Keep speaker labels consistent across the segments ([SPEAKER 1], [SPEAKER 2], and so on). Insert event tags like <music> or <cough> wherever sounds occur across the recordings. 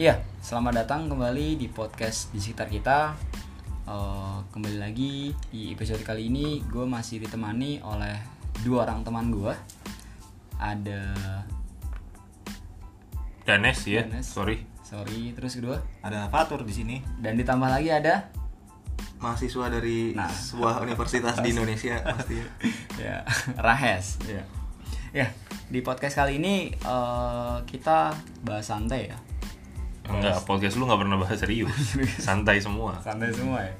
[SPEAKER 1] Iya, selamat datang kembali di podcast di sekitar kita. Eh, kembali lagi di episode kali ini, gue masih ditemani oleh dua orang teman gue. Ada,
[SPEAKER 2] Danes ya,
[SPEAKER 1] Danes.
[SPEAKER 2] sorry.
[SPEAKER 1] sorry, terus kedua,
[SPEAKER 3] ada Fatur di sini
[SPEAKER 1] dan ditambah lagi
[SPEAKER 3] <laughs>
[SPEAKER 1] ada,
[SPEAKER 4] mahasiswa dari
[SPEAKER 1] Nah.
[SPEAKER 4] sebuah universitas di Indonesia pasti
[SPEAKER 1] ya Rahes.
[SPEAKER 3] Iya.
[SPEAKER 1] Ya, ya di podcast kali ini eh, kita bahas santai ya,
[SPEAKER 2] Enggak, podcast lu nggak pernah bahas
[SPEAKER 1] <laughs>
[SPEAKER 2] serius. Santai semua.
[SPEAKER 1] santai semua ya.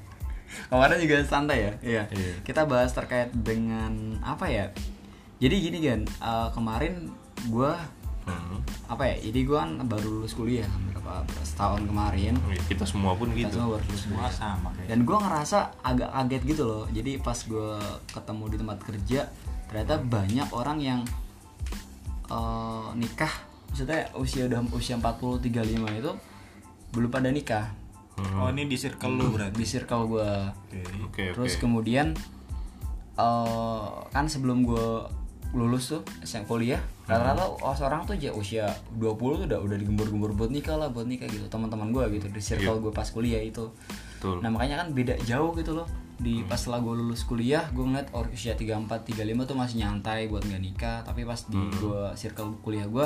[SPEAKER 1] Kemarin juga santai ya. Iya.
[SPEAKER 2] Iya.
[SPEAKER 1] Kita bahas terkait dengan apa ya? Jadi gini kan, eh, kemarin gue
[SPEAKER 2] Hmm.
[SPEAKER 1] apa ya jadi gue kan baru lulus kuliah berapa setahun kemarin
[SPEAKER 2] Ya, Kita semua pun
[SPEAKER 1] kita
[SPEAKER 2] gitu.
[SPEAKER 1] semua baru lulus
[SPEAKER 3] semua
[SPEAKER 1] kuliah
[SPEAKER 3] sama kayak
[SPEAKER 1] dan gue ngerasa agak kaget gitu loh jadi pas gue ketemu di tempat kerja ternyata banyak orang yang eh, nikah maksudnya usia udah usia 40 35 itu belum pada nikah
[SPEAKER 4] Hmm.
[SPEAKER 3] oh ini di circle lu berarti
[SPEAKER 1] di circle gue
[SPEAKER 3] Oke.
[SPEAKER 2] Oke,
[SPEAKER 1] Terus
[SPEAKER 2] oke.
[SPEAKER 1] kemudian eh, kan sebelum gue lulus tuh siang kuliah
[SPEAKER 2] Hmm.
[SPEAKER 1] rata-rata orang tuh aja usia 20 tuh udah udah digembur-gembur buat nikah lah buat nikah gitu teman-teman gue gitu di circle gue pas kuliah itu
[SPEAKER 2] Iya. Betul. Hmm.
[SPEAKER 1] nah makanya kan beda jauh gitu loh di pas setelah gue lulus kuliah gue ngeliat or- usia 34 35 tuh masih nyantai buat nggak nikah tapi pas di
[SPEAKER 2] Hmm.
[SPEAKER 1] gue circle kuliah gue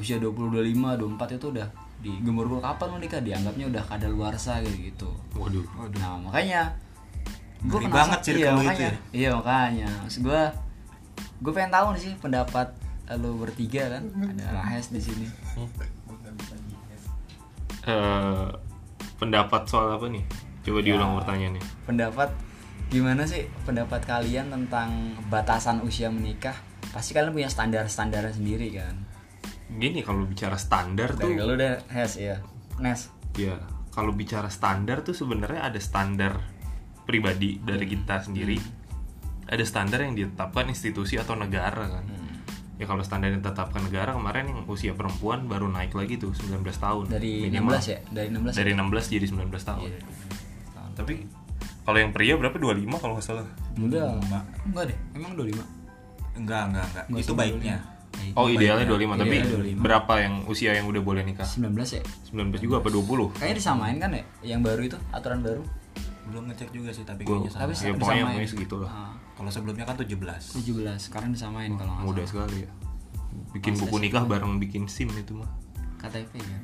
[SPEAKER 1] usia 20 25 24 itu udah digembur-gembur kapan lo nikah dianggapnya udah kadaluarsa gitu gitu
[SPEAKER 2] Waduh.
[SPEAKER 1] Nah makanya gue
[SPEAKER 3] Ngeri banget circle
[SPEAKER 1] iya,
[SPEAKER 3] lu itu
[SPEAKER 1] makanya,
[SPEAKER 3] ya.
[SPEAKER 1] Iya makanya Maksud gue Gue pengen tahu nih sih pendapat lo bertiga kan Ada Rahes di sini
[SPEAKER 2] Eh, pendapat soal apa nih? Coba
[SPEAKER 1] Ya.
[SPEAKER 2] diulang pertanyaannya.
[SPEAKER 1] Pendapat Gimana sih pendapat kalian tentang batasan usia menikah Pasti kalian punya standar-standar sendiri kan
[SPEAKER 2] Gini kalau bicara standar
[SPEAKER 1] Dari
[SPEAKER 2] tuh,
[SPEAKER 1] lu deh Hes ya Nes
[SPEAKER 2] ya kalau bicara standar tuh sebenarnya ada standar pribadi dari
[SPEAKER 1] Hmm.
[SPEAKER 2] kita sendiri. Ada standar yang ditetapkan institusi atau negara kan.
[SPEAKER 1] Hmm.
[SPEAKER 2] Ya kalau standar yang ditetapkan negara kemarin yang usia perempuan baru naik lagi tuh 19 tahun.
[SPEAKER 1] Dari
[SPEAKER 2] minimal.
[SPEAKER 1] 16 ya Dari 16
[SPEAKER 2] dari 16 jadi 19 tahun.
[SPEAKER 1] Iya.
[SPEAKER 2] Tapi kalau yang pria berapa 25 kalau nggak salah.
[SPEAKER 1] Enggak Enggak deh Emang 25
[SPEAKER 3] enggak enggak enggak
[SPEAKER 1] Nggak
[SPEAKER 3] itu
[SPEAKER 1] usah
[SPEAKER 3] baiknya
[SPEAKER 2] Oh, idealnya 25, tapi
[SPEAKER 1] Idealnya 25.
[SPEAKER 2] berapa yang usia yang udah boleh nikah?
[SPEAKER 1] 19 ya
[SPEAKER 2] 19 juga apa 20?
[SPEAKER 1] Kayaknya disamain kan ya Yang baru itu Aturan baru
[SPEAKER 3] belum ngecek juga sih tapi
[SPEAKER 2] Gua-
[SPEAKER 3] kayaknya Iya,
[SPEAKER 1] Tapi
[SPEAKER 3] sama
[SPEAKER 2] ya, pokoknya,
[SPEAKER 1] disamain.
[SPEAKER 2] pokoknya segitu lah.
[SPEAKER 1] Ah.
[SPEAKER 3] kalau sebelumnya kan 17
[SPEAKER 1] 17 sekarang disamain kalau nggak
[SPEAKER 2] Mudah sekali ya. Bikin buku nikah bareng bikin SIM itu
[SPEAKER 1] salah.
[SPEAKER 2] mah.
[SPEAKER 1] KTP kan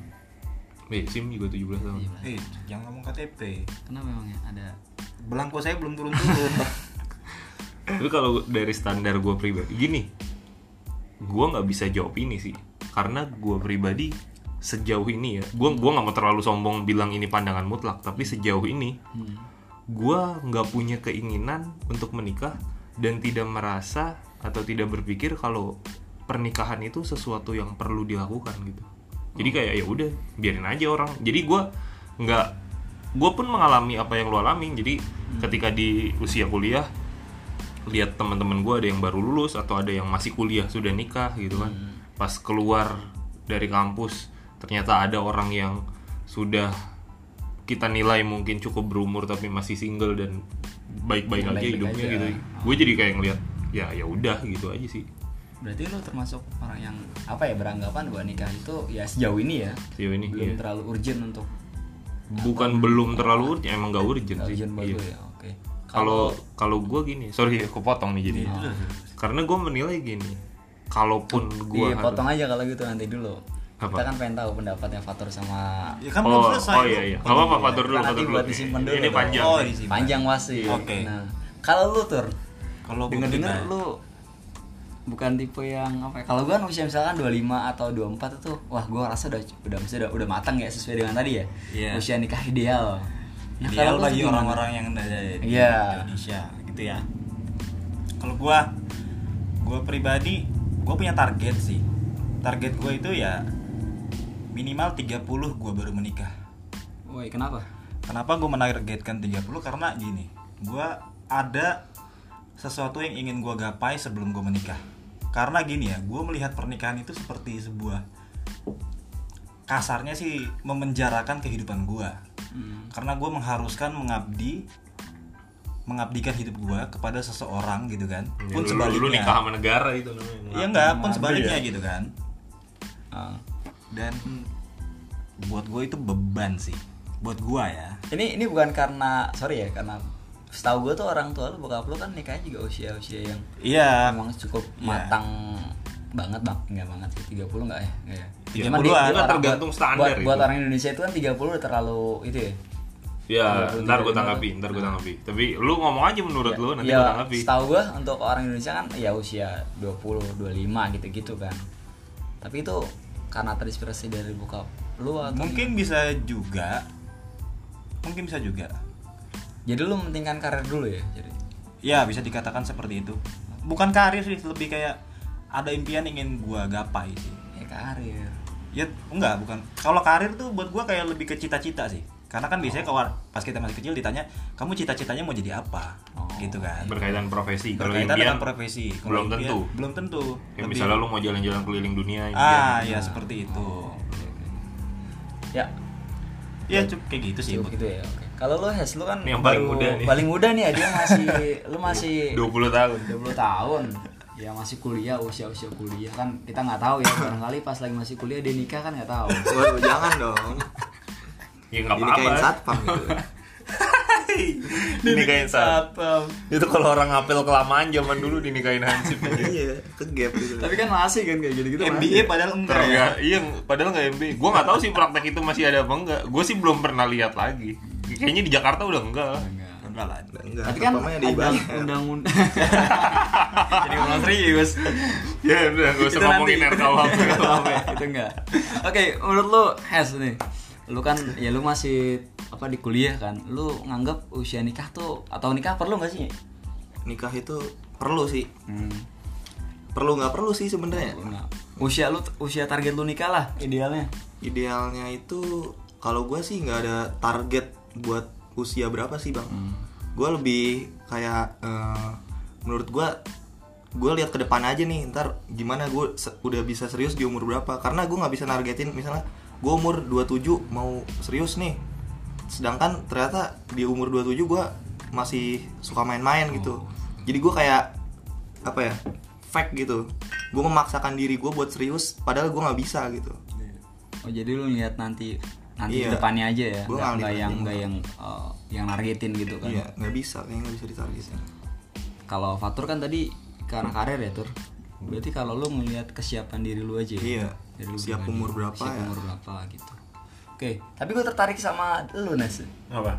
[SPEAKER 2] Eh, SIM juga 17 tahun.
[SPEAKER 1] 17
[SPEAKER 3] eh jangan ngomong KTP
[SPEAKER 1] kenapa emangnya ada
[SPEAKER 4] belangko saya belum turun turun
[SPEAKER 2] Tapi kalau dari standar gue pribadi, gini, gue nggak bisa jawab ini sih, karena gue pribadi sejauh ini ya, gue gua nggak mau terlalu sombong bilang ini pandangan mutlak, tapi sejauh ini gue nggak punya keinginan untuk menikah dan tidak merasa atau tidak berpikir kalau pernikahan itu sesuatu yang perlu dilakukan gitu. Jadi kayak ya udah biarin aja orang. Jadi gue nggak, gue pun mengalami apa yang lo alami. Jadi ketika di usia kuliah lihat teman-teman gue ada yang baru lulus atau ada yang masih kuliah sudah nikah gitu kan
[SPEAKER 1] Hmm.
[SPEAKER 2] pas keluar dari kampus ternyata ada orang yang sudah kita nilai mungkin cukup berumur tapi masih single dan baik-baik aja
[SPEAKER 1] Baik-baik
[SPEAKER 2] hidupnya
[SPEAKER 1] aja.
[SPEAKER 2] gitu gue jadi kayak ngeliat ya ya udah gitu aja sih
[SPEAKER 1] berarti lo termasuk orang yang apa ya beranggapan bahwa nikah itu ya sejauh ini ya
[SPEAKER 2] sejauh ini
[SPEAKER 1] belum
[SPEAKER 2] iya.
[SPEAKER 1] terlalu urgent untuk
[SPEAKER 2] bukan belum terlalu urgent emang gak urgent sih
[SPEAKER 1] urgent buat
[SPEAKER 2] Iya.
[SPEAKER 1] lo ya oke
[SPEAKER 2] kalau kalau gue gini sorry aku potong nih jadi karena gue menilai gini kalaupun gue
[SPEAKER 1] Iya, potong aja kalau gitu nanti dulu
[SPEAKER 2] Apa?
[SPEAKER 1] kita kan pengen tahu pendapatnya Fatur sama
[SPEAKER 3] <laughs> ya kan belum
[SPEAKER 2] Oh,
[SPEAKER 3] selesai
[SPEAKER 2] oh
[SPEAKER 3] lu.
[SPEAKER 2] iya iya. Enggak apa-apa fatur dulu,
[SPEAKER 1] Nanti
[SPEAKER 2] fatur dulu.
[SPEAKER 1] buat disimpan dulu
[SPEAKER 2] Ini
[SPEAKER 1] dong.
[SPEAKER 2] panjang.
[SPEAKER 3] Oh, disimpan.
[SPEAKER 1] panjang wasi
[SPEAKER 2] Iya.
[SPEAKER 3] Oke.
[SPEAKER 1] nah kalau lu tur
[SPEAKER 3] kalau gua
[SPEAKER 1] dengar dengar
[SPEAKER 3] pribadi-
[SPEAKER 1] lu bukan tipe yang apa ya kalau gue kan usia misalkan 25 atau 24 itu wah gue rasa udah udah mesti udah, udah matang ya sesuai dengan tadi ya
[SPEAKER 3] Iya.
[SPEAKER 1] usia nikah ideal Nah,
[SPEAKER 3] ideal
[SPEAKER 1] kalau lu
[SPEAKER 3] bagi
[SPEAKER 1] gimana?
[SPEAKER 3] orang-orang yang ada di
[SPEAKER 1] Iya.
[SPEAKER 3] Indonesia gitu ya kalau gua gua pribadi gua punya target sih target gua itu ya minimal 30 gua baru menikah
[SPEAKER 1] woi kenapa
[SPEAKER 3] Kenapa gue menargetkan 30? Karena gini, gue ada sesuatu yang ingin gue gapai sebelum gue menikah. Karena gini ya, gue melihat pernikahan itu seperti sebuah kasarnya sih memenjarakan kehidupan gue.
[SPEAKER 1] Hmm.
[SPEAKER 3] Karena gue mengharuskan mengabdi, mengabdikan hidup gue kepada seseorang gitu kan.
[SPEAKER 2] Ya,
[SPEAKER 3] Pun
[SPEAKER 2] lu-
[SPEAKER 3] sebaliknya.
[SPEAKER 2] Lu nikah sama negara gitu. itu namanya.
[SPEAKER 3] Iya enggak, pun
[SPEAKER 1] Mengabdi
[SPEAKER 3] sebaliknya
[SPEAKER 1] ya.
[SPEAKER 3] gitu kan.
[SPEAKER 1] Ah,
[SPEAKER 3] Dan buat gue itu beban sih buat gue ya
[SPEAKER 1] ini ini bukan karena sorry ya karena setahu gue tuh orang tua lu bokap lu kan nikahnya juga usia usia yang
[SPEAKER 3] iya
[SPEAKER 1] memang cukup
[SPEAKER 3] Iya.
[SPEAKER 1] matang banget bang nggak banget sih 30 nggak ya nggak ya
[SPEAKER 3] 30-an
[SPEAKER 1] buat
[SPEAKER 2] kan
[SPEAKER 1] orang-
[SPEAKER 2] tergantung
[SPEAKER 1] buat-
[SPEAKER 2] standar
[SPEAKER 1] buat,
[SPEAKER 2] itu.
[SPEAKER 1] buat orang Indonesia itu kan 30 udah terlalu itu ya
[SPEAKER 2] Ya,
[SPEAKER 3] Nah,
[SPEAKER 1] Kalau
[SPEAKER 2] ntar
[SPEAKER 1] belum
[SPEAKER 2] gue
[SPEAKER 1] terima
[SPEAKER 2] tanggapi,
[SPEAKER 1] tuh.
[SPEAKER 2] ntar gue tanggapi. Tapi lu ngomong aja menurut
[SPEAKER 3] Ya,
[SPEAKER 2] lu, nanti gue tanggapi.
[SPEAKER 1] Ya, setahu gue untuk orang Indonesia kan ya usia 20 25 gitu-gitu kan tapi itu karena terinspirasi dari bokap lu atau
[SPEAKER 3] mungkin bisa juga mungkin bisa juga
[SPEAKER 1] jadi lu mentingkan karir dulu ya jadi
[SPEAKER 3] ya bisa dikatakan seperti itu bukan karir sih lebih kayak ada impian ingin gue gapai sih
[SPEAKER 1] ya karir
[SPEAKER 3] ya enggak bukan kalau karir tuh buat gue kayak lebih ke cita-cita sih karena kan biasanya
[SPEAKER 2] Oh.
[SPEAKER 3] kalau pas kita masih kecil ditanya kamu cita-citanya mau jadi apa
[SPEAKER 1] Oh.
[SPEAKER 3] gitu kan
[SPEAKER 2] Berkaitan profesi. Kalau
[SPEAKER 3] berkaitan
[SPEAKER 2] impian,
[SPEAKER 3] dengan profesi Kalau
[SPEAKER 2] belum
[SPEAKER 3] impian-
[SPEAKER 2] tentu.
[SPEAKER 3] belum tentu
[SPEAKER 2] Ya,
[SPEAKER 3] Lebih-
[SPEAKER 2] misalnya lu mau jalan-jalan keliling dunia,
[SPEAKER 3] ah
[SPEAKER 2] impian. Nah. Oh,
[SPEAKER 3] ya seperti itu
[SPEAKER 1] ya
[SPEAKER 3] ya cukup kayak gitu sih
[SPEAKER 1] cukup gitu ya oke kalau lu Hes lu kan
[SPEAKER 2] Ini yang paling
[SPEAKER 1] baru-
[SPEAKER 2] muda nih.
[SPEAKER 1] paling muda nih ya dia
[SPEAKER 2] <laughs>
[SPEAKER 1] masih lu masih
[SPEAKER 2] 20 tahun.
[SPEAKER 1] 20 tahun ya masih kuliah usia usia kuliah kan kita nggak tahu ya barangkali pas lagi masih kuliah dia nikah kan nggak
[SPEAKER 2] <laughs>
[SPEAKER 1] tahu
[SPEAKER 4] Waduh, jangan dong.
[SPEAKER 2] Ya nggak
[SPEAKER 4] Ini kain
[SPEAKER 2] apa-apa.
[SPEAKER 4] satpam gitu.
[SPEAKER 2] <laughs> Dinikahin saat. Itu kalau orang ngapel kelamaan zaman dulu dinikahin hansip.
[SPEAKER 4] <laughs>
[SPEAKER 3] <laughs>
[SPEAKER 4] Iya, kegap gitu.
[SPEAKER 1] tapi kan masih kan kayak gitu gitu
[SPEAKER 3] MBA padahal enggak ya
[SPEAKER 2] Ternyata, iya, padahal nggak MB. Gue nggak tahu sih praktek itu masih ada apa enggak. Gue sih belum pernah lihat lagi. Kayaknya di Jakarta udah enggak.
[SPEAKER 3] enggak lah
[SPEAKER 4] Enggak,
[SPEAKER 1] tapi kan
[SPEAKER 4] satpamnya
[SPEAKER 1] ada
[SPEAKER 4] dibayar.
[SPEAKER 1] <laughs> undang-undang
[SPEAKER 3] jadi ngomong serius
[SPEAKER 2] Ya udah, gue usah ngomongin RKUHP.
[SPEAKER 1] <laughs> itu enggak oke menurut lu Hes nih lu kan ya lu masih apa di kuliah kan lu nganggap usia nikah tuh atau nikah perlu nggak sih
[SPEAKER 4] Nikah itu perlu sih.
[SPEAKER 1] hmm.
[SPEAKER 4] Perlu nggak perlu sih sebenarnya.
[SPEAKER 1] Nah, usia lu usia target lu nikah lah idealnya
[SPEAKER 4] Idealnya itu kalau gue sih nggak ada target buat usia berapa sih bang. Gue lebih kayak eh, menurut gue gue lihat ke depan aja nih ntar gimana gue udah bisa serius di umur berapa karena gue nggak bisa nargetin misalnya gue umur 27 mau serius nih sedangkan ternyata di umur 27 gue masih suka main-main gitu jadi gue kayak apa ya fake gitu gue memaksakan diri gue buat serius padahal gue nggak bisa gitu
[SPEAKER 1] oh jadi lu lihat nanti nanti
[SPEAKER 4] Iya.
[SPEAKER 1] depannya aja ya
[SPEAKER 4] Gua
[SPEAKER 1] nggak
[SPEAKER 4] ngalih
[SPEAKER 1] nggak
[SPEAKER 4] aja,
[SPEAKER 1] yang
[SPEAKER 4] gua.
[SPEAKER 1] nggak yang eh, yang nargetin gitu kan
[SPEAKER 4] iya nggak bisa kayaknya nggak bisa ditargetin
[SPEAKER 1] kalau Fatur kan tadi karena karir ya tur berarti kalau lu melihat kesiapan diri lu aja ya?
[SPEAKER 4] Iya.
[SPEAKER 1] Diri lu
[SPEAKER 4] Siap
[SPEAKER 1] pribadi.
[SPEAKER 4] umur berapa
[SPEAKER 1] siap
[SPEAKER 4] ya?
[SPEAKER 1] umur berapa gitu oke tapi gue tertarik sama lu Nes <clears throat>
[SPEAKER 2] Apa?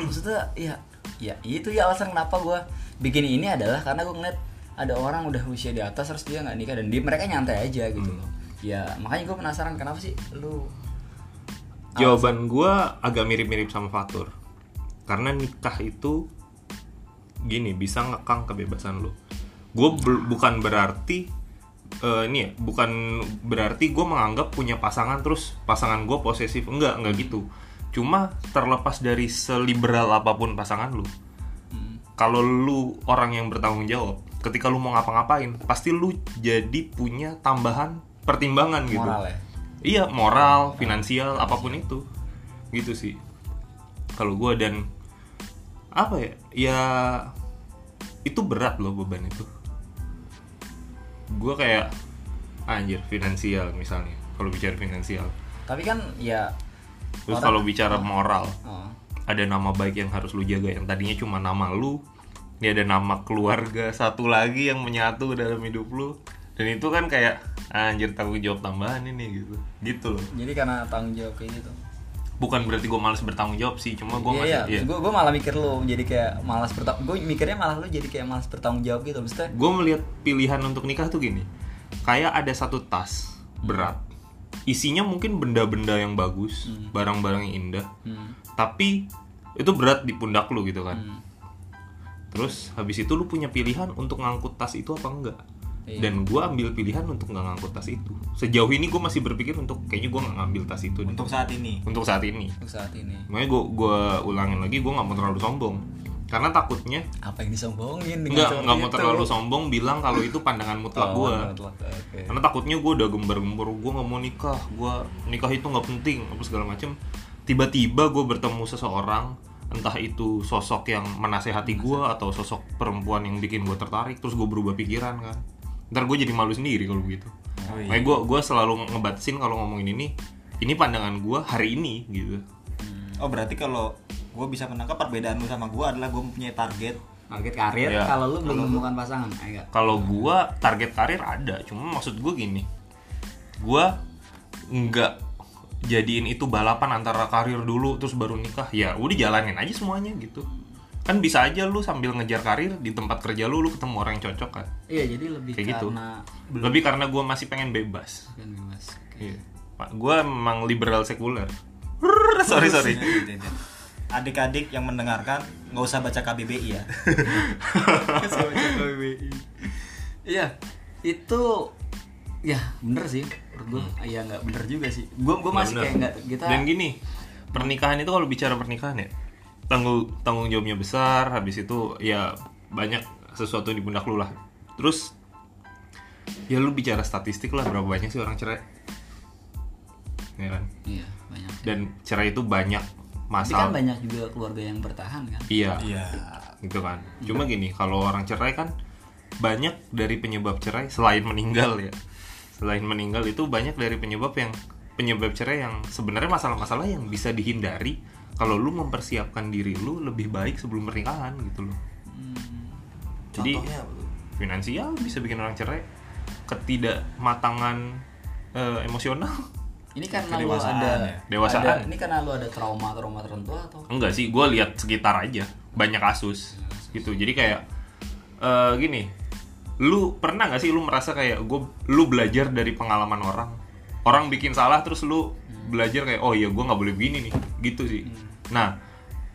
[SPEAKER 1] maksudnya ya ya itu ya alasan kenapa gue bikin ini adalah karena gue ngeliat ada orang udah usia di atas terus dia nggak nikah dan dia mereka nyantai aja gitu loh ya makanya gue penasaran kenapa sih lu
[SPEAKER 2] Jawaban gue agak mirip-mirip sama Fatur. Karena nikah itu gini bisa ngekang kebebasan lu. Gue bukan berarti eh, ini ya, bukan berarti gue menganggap punya pasangan terus pasangan gue posesif enggak enggak gitu. Cuma terlepas dari seliberal apapun pasangan lu,
[SPEAKER 1] Hmm.
[SPEAKER 2] kalau lu orang yang bertanggung jawab, ketika lu mau ngapa-ngapain, pasti lu jadi punya tambahan pertimbangan gitu.
[SPEAKER 1] Moral ya? Ah.
[SPEAKER 2] Iya, moral, finansial, apapun itu. Gitu sih. Kalau gua dan apa ya? Ya itu berat loh beban itu. Gua kayak anjir finansial misalnya. Kalau bicara finansial.
[SPEAKER 1] tapi kan ya
[SPEAKER 2] Terus
[SPEAKER 1] orang-
[SPEAKER 2] kalau bicara moral,
[SPEAKER 1] Oh.
[SPEAKER 2] ada nama baik yang harus lu jaga yang tadinya cuma nama lu ini ada nama keluarga satu lagi yang menyatu dalam hidup lu dan itu kan kayak anjir tanggung jawab tambahan ini gitu gitu loh
[SPEAKER 1] jadi karena tanggung jawab kayak gitu
[SPEAKER 2] bukan berarti gue males bertanggung jawab sih cuma gue masih
[SPEAKER 1] iya, iya.
[SPEAKER 2] iya.
[SPEAKER 1] Gue gue malah mikir lu jadi kayak malas bertanggung. Gue mikirnya malah lu jadi kayak malas bertanggung jawab gitu. Maksudnya
[SPEAKER 2] gue melihat pilihan untuk nikah tuh gini kayak ada satu tas berat isinya mungkin benda-benda yang bagus
[SPEAKER 1] Hmm.
[SPEAKER 2] barang-barang yang indah tapi itu berat di pundak lu gitu kan
[SPEAKER 1] Hmm.
[SPEAKER 2] terus habis itu lu punya pilihan untuk ngangkut tas itu apa enggak
[SPEAKER 1] Iya.
[SPEAKER 2] dan gue ambil pilihan untuk nggak ngangkut tas itu sejauh ini gue masih berpikir untuk kayaknya gue nggak ngambil tas itu deh.
[SPEAKER 3] untuk saat ini
[SPEAKER 2] untuk saat ini
[SPEAKER 1] untuk saat ini
[SPEAKER 2] makanya gue ulangin lagi gue nggak mau terlalu sombong karena takutnya
[SPEAKER 1] apa yang disombongin? dengan
[SPEAKER 2] nggak
[SPEAKER 1] seperti
[SPEAKER 2] nggak mau
[SPEAKER 1] itu?
[SPEAKER 2] terlalu sombong bilang kalau itu pandangan mutlak
[SPEAKER 1] Oh,
[SPEAKER 2] gue
[SPEAKER 1] mutlak, oke.
[SPEAKER 2] karena takutnya gue udah gembar-gembor gue nggak mau nikah gue nikah itu nggak penting apa segala macem tiba-tiba gue bertemu seseorang entah itu sosok yang menasehati gue atau sosok perempuan yang bikin gue tertarik terus gue berubah pikiran kan ntar gue jadi malu sendiri kalau begitu
[SPEAKER 3] Oh, iya.
[SPEAKER 2] makanya gue gue selalu ngebatasin kalau ngomongin ini ini pandangan gue hari ini gitu
[SPEAKER 3] Oh berarti kalau gue bisa menangkap perbedaan lu sama gue adalah gue mempunyai target.
[SPEAKER 1] Target karir
[SPEAKER 2] Iya.
[SPEAKER 1] kalau lu belum menemukan pasangan, eh, ayo.
[SPEAKER 2] kalau gue target karir ada cuma maksud gue gini gue nggak jadiin itu balapan antara karir dulu terus baru nikah ya udah jalanin aja semuanya gitu kan bisa aja lu sambil ngejar karir di tempat kerja lu lu ketemu orang yang cocok kan
[SPEAKER 1] Iya, jadi lebih
[SPEAKER 2] kayak gitu
[SPEAKER 1] karena belum
[SPEAKER 2] lebih karena gue masih pengen bebas
[SPEAKER 1] kan bebas. Oke.
[SPEAKER 2] Iya. Pak, gue emang liberal sekuler.
[SPEAKER 3] <laughs>
[SPEAKER 2] sorry
[SPEAKER 3] Iya,
[SPEAKER 2] sorry.
[SPEAKER 3] Adik-adik yang mendengarkan nggak usah baca KBBI ya.
[SPEAKER 1] Iya, itu ya bener sih menurut gue ya nggak bener juga sih gue gue masih
[SPEAKER 2] Hmm. Ya Bener.
[SPEAKER 1] kayak nggak kita
[SPEAKER 2] Dan gitu. gini, pernikahan itu kalau bicara pernikahan ya tanggung tanggung jawabnya besar, habis itu ya banyak sesuatu di pundak lu lah. Terus ya lu bicara statistik lah berapa banyak sih orang cerai? Ya kan?
[SPEAKER 1] iya banyak
[SPEAKER 2] Dan cerai itu banyak
[SPEAKER 1] tapi kan
[SPEAKER 2] masalah.
[SPEAKER 1] banyak juga keluarga yang bertahan kan
[SPEAKER 2] Iya.
[SPEAKER 3] <laughs> Iya.
[SPEAKER 2] gitu kan cuma gini kalau orang cerai kan banyak dari penyebab cerai selain meninggal ya selain meninggal itu banyak dari penyebab yang penyebab cerai yang sebenarnya masalah-masalah yang bisa dihindari kalau lu mempersiapkan diri lu lebih baik sebelum pernikahan gitu loh jadi
[SPEAKER 4] Contohnya apa tuh?
[SPEAKER 2] finansial bisa bikin orang cerai ketidakmatangan eh, emosional
[SPEAKER 1] ini karena lu
[SPEAKER 3] Kedewasaan
[SPEAKER 1] ada,
[SPEAKER 3] ya.
[SPEAKER 2] Dewasaan.
[SPEAKER 1] ada- ini karena lu ada trauma trauma tertentu atau
[SPEAKER 2] enggak sih gue lihat sekitar aja banyak kasus gitu jadi kayak eh, gini lu pernah nggak sih lu merasa kayak gue lu belajar dari pengalaman orang orang bikin salah terus lu belajar kayak oh iya gue nggak boleh begini nih gitu sih nah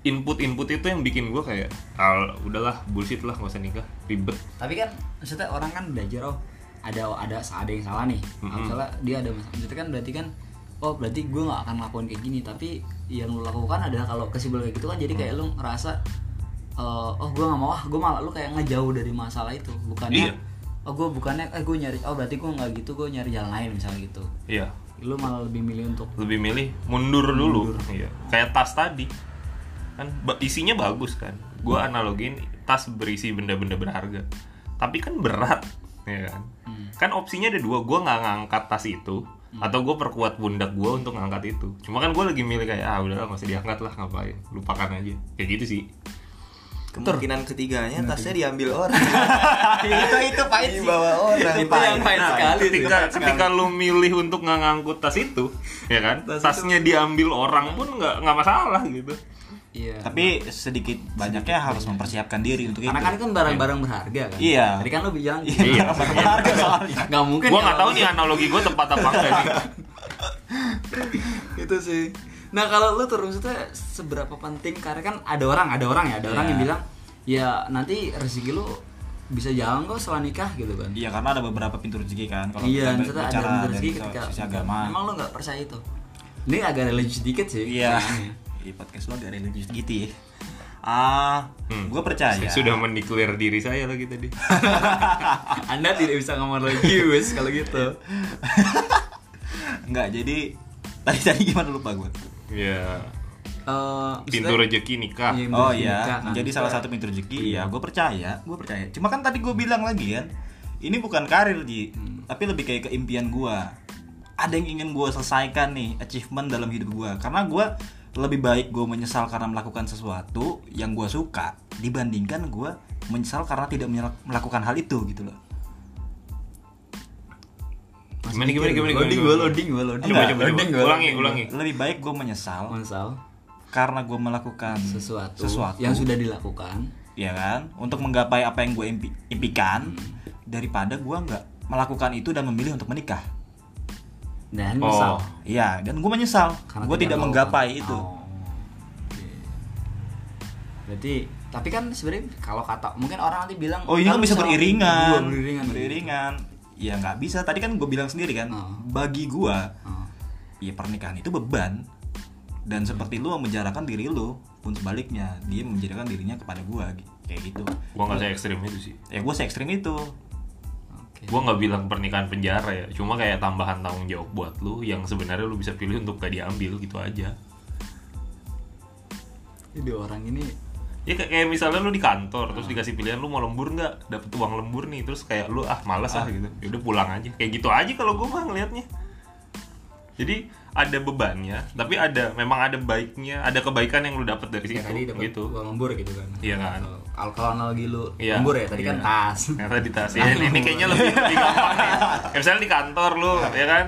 [SPEAKER 2] input-input itu yang bikin gue kayak "Ah, udahlah bullshit lah nggak usah nikah ribet
[SPEAKER 1] tapi kan maksudnya orang kan belajar oh ada ada ada yang salah nih
[SPEAKER 2] Mhm.
[SPEAKER 1] misalnya dia ada masalah maksudnya kan berarti kan oh berarti gue nggak akan lakukan kayak gini tapi yang lu lakukan adalah kalau kesibel kayak gitu kan jadi kayak lu ngerasa eh, oh gue nggak mau ah gue malah lu kayak ngejauh dari masalah itu bukannya
[SPEAKER 2] Iya.
[SPEAKER 1] oh gue bukannya eh gue nyari oh berarti gue nggak gitu gue nyari jalan lain misalnya gitu
[SPEAKER 2] iya
[SPEAKER 1] lu malah lebih milih untuk
[SPEAKER 2] lebih milih mundur dulu Iya. kayak tas tadi kan ba- isinya bagus kan gue analogin tas berisi benda-benda berharga tapi kan berat ya kan kan opsinya ada dua gue nggak ngangkat tas itu atau gue perkuat pundak gue untuk ngangkat itu cuma kan gue lagi milih kayak ah udahlah masih diangkat lah ngapain lupakan aja kayak gitu sih
[SPEAKER 4] Kemungkinan ketiganya tasnya diambil orang.
[SPEAKER 3] itu itu pahit sih.
[SPEAKER 4] Dibawa orang.
[SPEAKER 1] Nah, Itu yang pahit sekali tuh.
[SPEAKER 2] ketika ketika lu milih untuk nggak ngangkut tas itu ya kan
[SPEAKER 4] Tas itu-
[SPEAKER 2] tasnya diambil orang pun nggak nggak masalah gitu
[SPEAKER 1] iya
[SPEAKER 3] <laughs> Tapi sedikit banyaknya harus mempersiapkan diri untuk
[SPEAKER 1] karena kan
[SPEAKER 3] <laughs> itu.
[SPEAKER 1] itu kan barang-barang berharga kan
[SPEAKER 3] Iya.
[SPEAKER 1] tadi kan lu bilang
[SPEAKER 2] Gitu.
[SPEAKER 1] <laughs>
[SPEAKER 2] Iya.
[SPEAKER 3] Berharga soalnya.
[SPEAKER 1] nggak mungkin
[SPEAKER 2] gue nggak
[SPEAKER 1] kalau- <laughs>
[SPEAKER 2] tahu nih ya. analogi gue tepat apa enggak nih
[SPEAKER 1] itu sih nah kalau lu terus itu seberapa penting karena kan ada orang ada orang ya ada orang
[SPEAKER 2] Iya.
[SPEAKER 1] yang bilang ya nanti rezeki lu bisa jalan kok setelah nikah gitu kan
[SPEAKER 3] Iya karena ada beberapa pintu rezeki kan. Kalau
[SPEAKER 1] iya
[SPEAKER 3] kita
[SPEAKER 1] maksudnya ada
[SPEAKER 3] bicara
[SPEAKER 1] rezeki
[SPEAKER 3] dari sisi-
[SPEAKER 1] ketika
[SPEAKER 3] sisi agama.
[SPEAKER 1] emang lu nggak percaya itu ini agak religius sedikit sih
[SPEAKER 3] Iya.
[SPEAKER 2] <laughs>
[SPEAKER 1] kayaknya.
[SPEAKER 3] Di podcast lo agak religius gitu ya. Ah, gue percaya.
[SPEAKER 2] Saya Hmm. sudah mendeklir diri saya lagi tadi.
[SPEAKER 1] anda tidak bisa ngomong religius kalau gitu
[SPEAKER 3] Enggak, jadi <laughs> tadi tadi gimana lupa gue.
[SPEAKER 2] ya,
[SPEAKER 1] Eh,
[SPEAKER 2] pintu
[SPEAKER 1] maksudnya-
[SPEAKER 2] rezeki nikah.
[SPEAKER 1] Iya,
[SPEAKER 3] Oh
[SPEAKER 1] rezeki nikah
[SPEAKER 3] iya,
[SPEAKER 1] kan.
[SPEAKER 3] jadi salah satu pintu rezeki. Iya, gue percaya, gue percaya. Cuma kan tadi gue bilang lagi kan, ini bukan karir Ji,
[SPEAKER 1] Hmm.
[SPEAKER 3] tapi lebih kayak ke impian gue. Ada yang ingin gue selesaikan nih, achievement dalam hidup gue. Karena gue lebih baik gue menyesal karena melakukan sesuatu yang gue suka dibandingkan gue menyesal karena tidak menyel- melakukan hal itu gitu loh.
[SPEAKER 1] Masih
[SPEAKER 2] Gimana, gimana,
[SPEAKER 1] mikir, loading
[SPEAKER 2] gimana, gimana,
[SPEAKER 1] gua,
[SPEAKER 2] gimana?
[SPEAKER 1] loading gua, loading
[SPEAKER 2] Coba,
[SPEAKER 1] Enggak,
[SPEAKER 2] coba, coba.
[SPEAKER 1] loading gua,
[SPEAKER 2] Ulangi,
[SPEAKER 1] loading.
[SPEAKER 2] ulangi.
[SPEAKER 3] Lebih baik gue menyesal
[SPEAKER 1] Masalah
[SPEAKER 3] karena gue melakukan
[SPEAKER 1] sesuatu,
[SPEAKER 3] sesuatu
[SPEAKER 1] yang sudah dilakukan
[SPEAKER 3] ya kan untuk menggapai apa yang gue impi- impikan daripada gue nggak melakukan itu dan memilih untuk menikah
[SPEAKER 1] dan
[SPEAKER 2] Oh.
[SPEAKER 1] misal
[SPEAKER 3] iya dan gue menyesal
[SPEAKER 1] Karena
[SPEAKER 3] gue tidak
[SPEAKER 1] melakukan.
[SPEAKER 3] menggapai itu
[SPEAKER 1] Oh, oke. Berarti tapi kan sebenarnya kalau kata mungkin orang nanti bilang
[SPEAKER 3] oh ini kan bisa beriringan
[SPEAKER 1] Dua, Iya, beriringan.
[SPEAKER 3] beriringan ya nggak bisa tadi kan gue bilang sendiri kan
[SPEAKER 1] Oh.
[SPEAKER 3] bagi gue
[SPEAKER 1] Oh,
[SPEAKER 3] ya pernikahan itu beban dan seperti lu menjarakan diri lu pun sebaliknya dia menjarakan dirinya kepada gue kayak gitu
[SPEAKER 2] Gua nggak se ekstrim itu sih.
[SPEAKER 3] ya gue se ekstrim itu
[SPEAKER 1] oke.
[SPEAKER 2] Gua nggak bilang pernikahan penjara ya. Cuma kayak tambahan tanggung jawab buat lu yang sebenarnya lu bisa pilih untuk gak diambil gitu aja.
[SPEAKER 1] Ini dua orang ini
[SPEAKER 2] Ya kayak, kayak misalnya lu di kantor terus dikasih pilihan lu mau lembur nggak dapet uang lembur nih terus kayak lu ah malas ah gitu ya udah pulang aja kayak gitu aja kalau gua mah ngelihatnya Jadi ada bebannya, tapi ada memang ada baiknya, ada kebaikan yang lu dapat dari
[SPEAKER 1] ya
[SPEAKER 2] situ
[SPEAKER 1] tadi dapat
[SPEAKER 2] gitu.
[SPEAKER 1] uang lembur gitu kan
[SPEAKER 2] Iya kan?
[SPEAKER 1] Kalau- kalau analogi lu
[SPEAKER 2] Iya.
[SPEAKER 1] lembur ya tadi kan
[SPEAKER 2] Iya.
[SPEAKER 1] tas
[SPEAKER 2] Ternyata di tas. Ya, ini, ini kayaknya lebih, lebih gampang nih. Ya, misalnya di kantor lu, ya kan?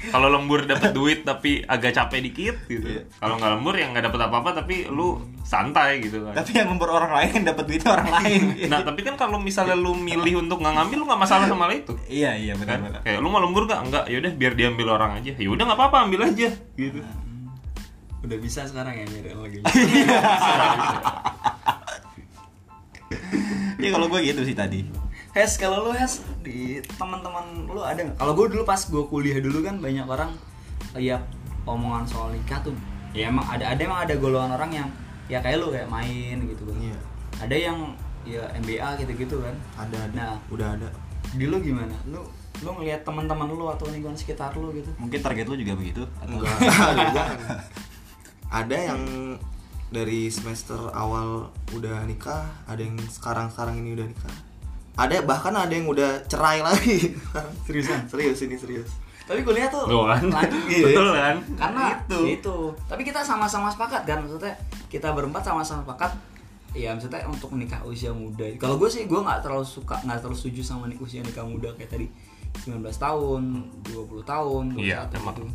[SPEAKER 2] Kalau lembur dapat duit tapi agak capek dikit gitu. Kalau nggak lembur ya nggak dapat apa-apa tapi lu santai gitu kan.
[SPEAKER 3] Tapi yang lembur orang lain <laughs> dapat duitnya orang lain.
[SPEAKER 2] Nah tapi kan kalau misalnya lu milih untuk nggak ngambil lu nggak masalah sama hal itu.
[SPEAKER 3] iya iya
[SPEAKER 2] Kan?
[SPEAKER 3] benar-benar.
[SPEAKER 2] Kayak lu mau lembur nggak? Enggak. Yaudah biar diambil orang aja. Yaudah nggak apa-apa ambil aja
[SPEAKER 1] <laughs>
[SPEAKER 2] gitu.
[SPEAKER 1] udah bisa sekarang ya nyari lagi
[SPEAKER 3] <laughs> Ya kalau gue gitu sih tadi.
[SPEAKER 1] Hes kalau lu Hes di teman-teman lu ada nggak? Kalau gue dulu pas gue kuliah dulu kan banyak orang lihat omongan soal nikah tuh ya emang ada ada emang ada golongan orang yang ya kayak lu kayak main gitu kan.
[SPEAKER 4] Iya.
[SPEAKER 1] Ada yang ya MBA gitu-gitu kan.
[SPEAKER 4] ada ada
[SPEAKER 1] Nah.
[SPEAKER 4] udah ada
[SPEAKER 1] Di lu gimana? Lu lu ngelihat teman-teman lu atau lingkungan sekitar lu gitu?
[SPEAKER 3] Mungkin target lu juga begitu atau <laughs>
[SPEAKER 4] enggak ada juga. ada yang dari semester awal udah nikah ada yang sekarang sekarang ini udah nikah ada bahkan ada yang udah cerai lagi <laughs> sekarang seriusan serius ini serius
[SPEAKER 1] Tapi gue lihat tuh
[SPEAKER 2] Tuh kan.
[SPEAKER 1] lanjut gitu.
[SPEAKER 2] <laughs> Betul kan?
[SPEAKER 1] karena
[SPEAKER 4] Itu.
[SPEAKER 1] itu. tapi kita sama-sama sepakat kan maksudnya kita berempat sama-sama sepakat ya maksudnya untuk menikah usia muda kalau gue sih gue nggak terlalu suka nggak terlalu setuju sama ni- usia nikah muda kayak tadi 19 tahun 20 tahun 21
[SPEAKER 2] Iya, emang.
[SPEAKER 1] gitu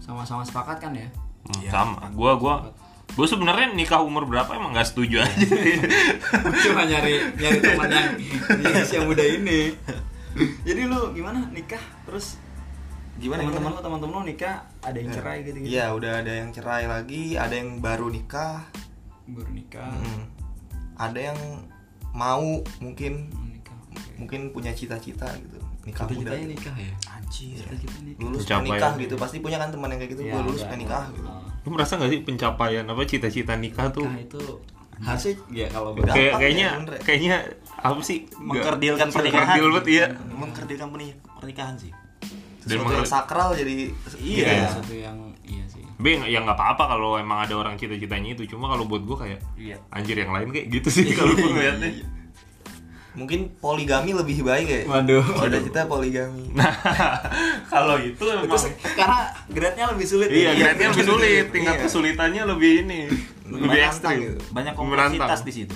[SPEAKER 1] sama-sama sepakat kan ya <laughs>
[SPEAKER 2] Hmm, sama. Gua gua gua sebenarnya nikah umur berapa emang nggak setuju aja. <laughs>
[SPEAKER 1] cuma nyari nyari teman yang di usia muda ini jadi lu gimana nikah terus
[SPEAKER 4] Gimana,
[SPEAKER 1] teman-teman lu teman-teman lu nikah ada yang cerai gitu gitu
[SPEAKER 4] Iya, udah ada yang cerai lagi, ada yang baru nikah,
[SPEAKER 1] baru nikah
[SPEAKER 4] Mm. ada yang mau mungkin
[SPEAKER 1] menikah oke.
[SPEAKER 4] mungkin punya cita-cita gitu nikah muda.
[SPEAKER 1] cita-citanya nikah ya
[SPEAKER 4] Anjir.
[SPEAKER 1] cita-cita nikah
[SPEAKER 4] Lulus
[SPEAKER 2] Pencapaian.
[SPEAKER 4] menikah gitu, pasti punya kan teman yang kayak gitu,
[SPEAKER 1] Ya,
[SPEAKER 4] gua lulus
[SPEAKER 1] ada.
[SPEAKER 4] menikah gitu.
[SPEAKER 1] Ah.
[SPEAKER 2] Lu merasa nggak sih pencapaian apa cita-cita nikah tuh?
[SPEAKER 1] Nah itu harusnya ya kalau
[SPEAKER 4] Udah.
[SPEAKER 2] Kayak
[SPEAKER 4] Gampang
[SPEAKER 2] kayaknya
[SPEAKER 4] ya, bener ya?
[SPEAKER 2] kayaknya apa sih? Nggak-
[SPEAKER 3] mengkerdilkan pernikahan.
[SPEAKER 2] Mengkerdil banget iya.
[SPEAKER 3] Mengkerdilkan perni- pernikahan sih.
[SPEAKER 2] Dan
[SPEAKER 4] Sesuatu
[SPEAKER 2] mengker-
[SPEAKER 4] yang sakral jadi ya,
[SPEAKER 3] Iya.
[SPEAKER 1] Iya, sesuatu yang iya sih.
[SPEAKER 2] Tapi ya- ya nggak apa-apa kalau emang ada orang cita-citanya itu. Cuma kalau buat gua kayak
[SPEAKER 3] Iya.
[SPEAKER 2] anjir yang lain kayak gitu sih kalau gua ngeliatnya.
[SPEAKER 4] mungkin poligami lebih baik ya.
[SPEAKER 1] Waduh.
[SPEAKER 4] Cita-cita poligami.
[SPEAKER 2] Nah kalau itu emang
[SPEAKER 1] Karena grade-nya lebih sulit.
[SPEAKER 2] iya
[SPEAKER 1] ya?
[SPEAKER 2] grade-nya lebih sulit, tingkat
[SPEAKER 4] Iya.
[SPEAKER 2] kesulitannya lebih ini lebih ekstrim.
[SPEAKER 4] Menantang gitu.
[SPEAKER 3] Banyak
[SPEAKER 2] Menantang.
[SPEAKER 3] kompleksitas di situ.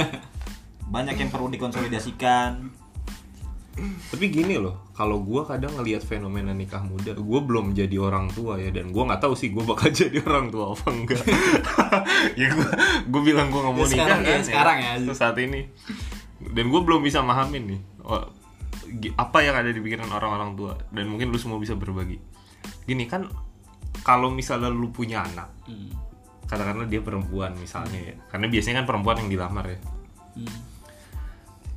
[SPEAKER 3] <laughs> Banyak yang perlu dikonsolidasikan.
[SPEAKER 2] tapi gini loh kalau gua kadang ngelihat fenomena nikah muda gua belum jadi orang tua ya dan gua nggak tahu sih gua bakal <laughs> jadi orang tua apa enggak <laughs> ya gua gua bilang gua nggak
[SPEAKER 1] Ya,
[SPEAKER 2] mau nikah
[SPEAKER 1] sekarang ya,
[SPEAKER 2] kan,
[SPEAKER 1] sekarang ya.
[SPEAKER 2] Terus saat ini dan gua belum bisa mahamin nih oh, gi- apa yang ada di pikiran orang-orang tua dan mungkin lu semua bisa berbagi gini kan kalau misalnya lu punya anak
[SPEAKER 1] Hmm.
[SPEAKER 2] katakanlah dia perempuan misalnya ya karena biasanya kan perempuan yang dilamar ya
[SPEAKER 1] Hmm.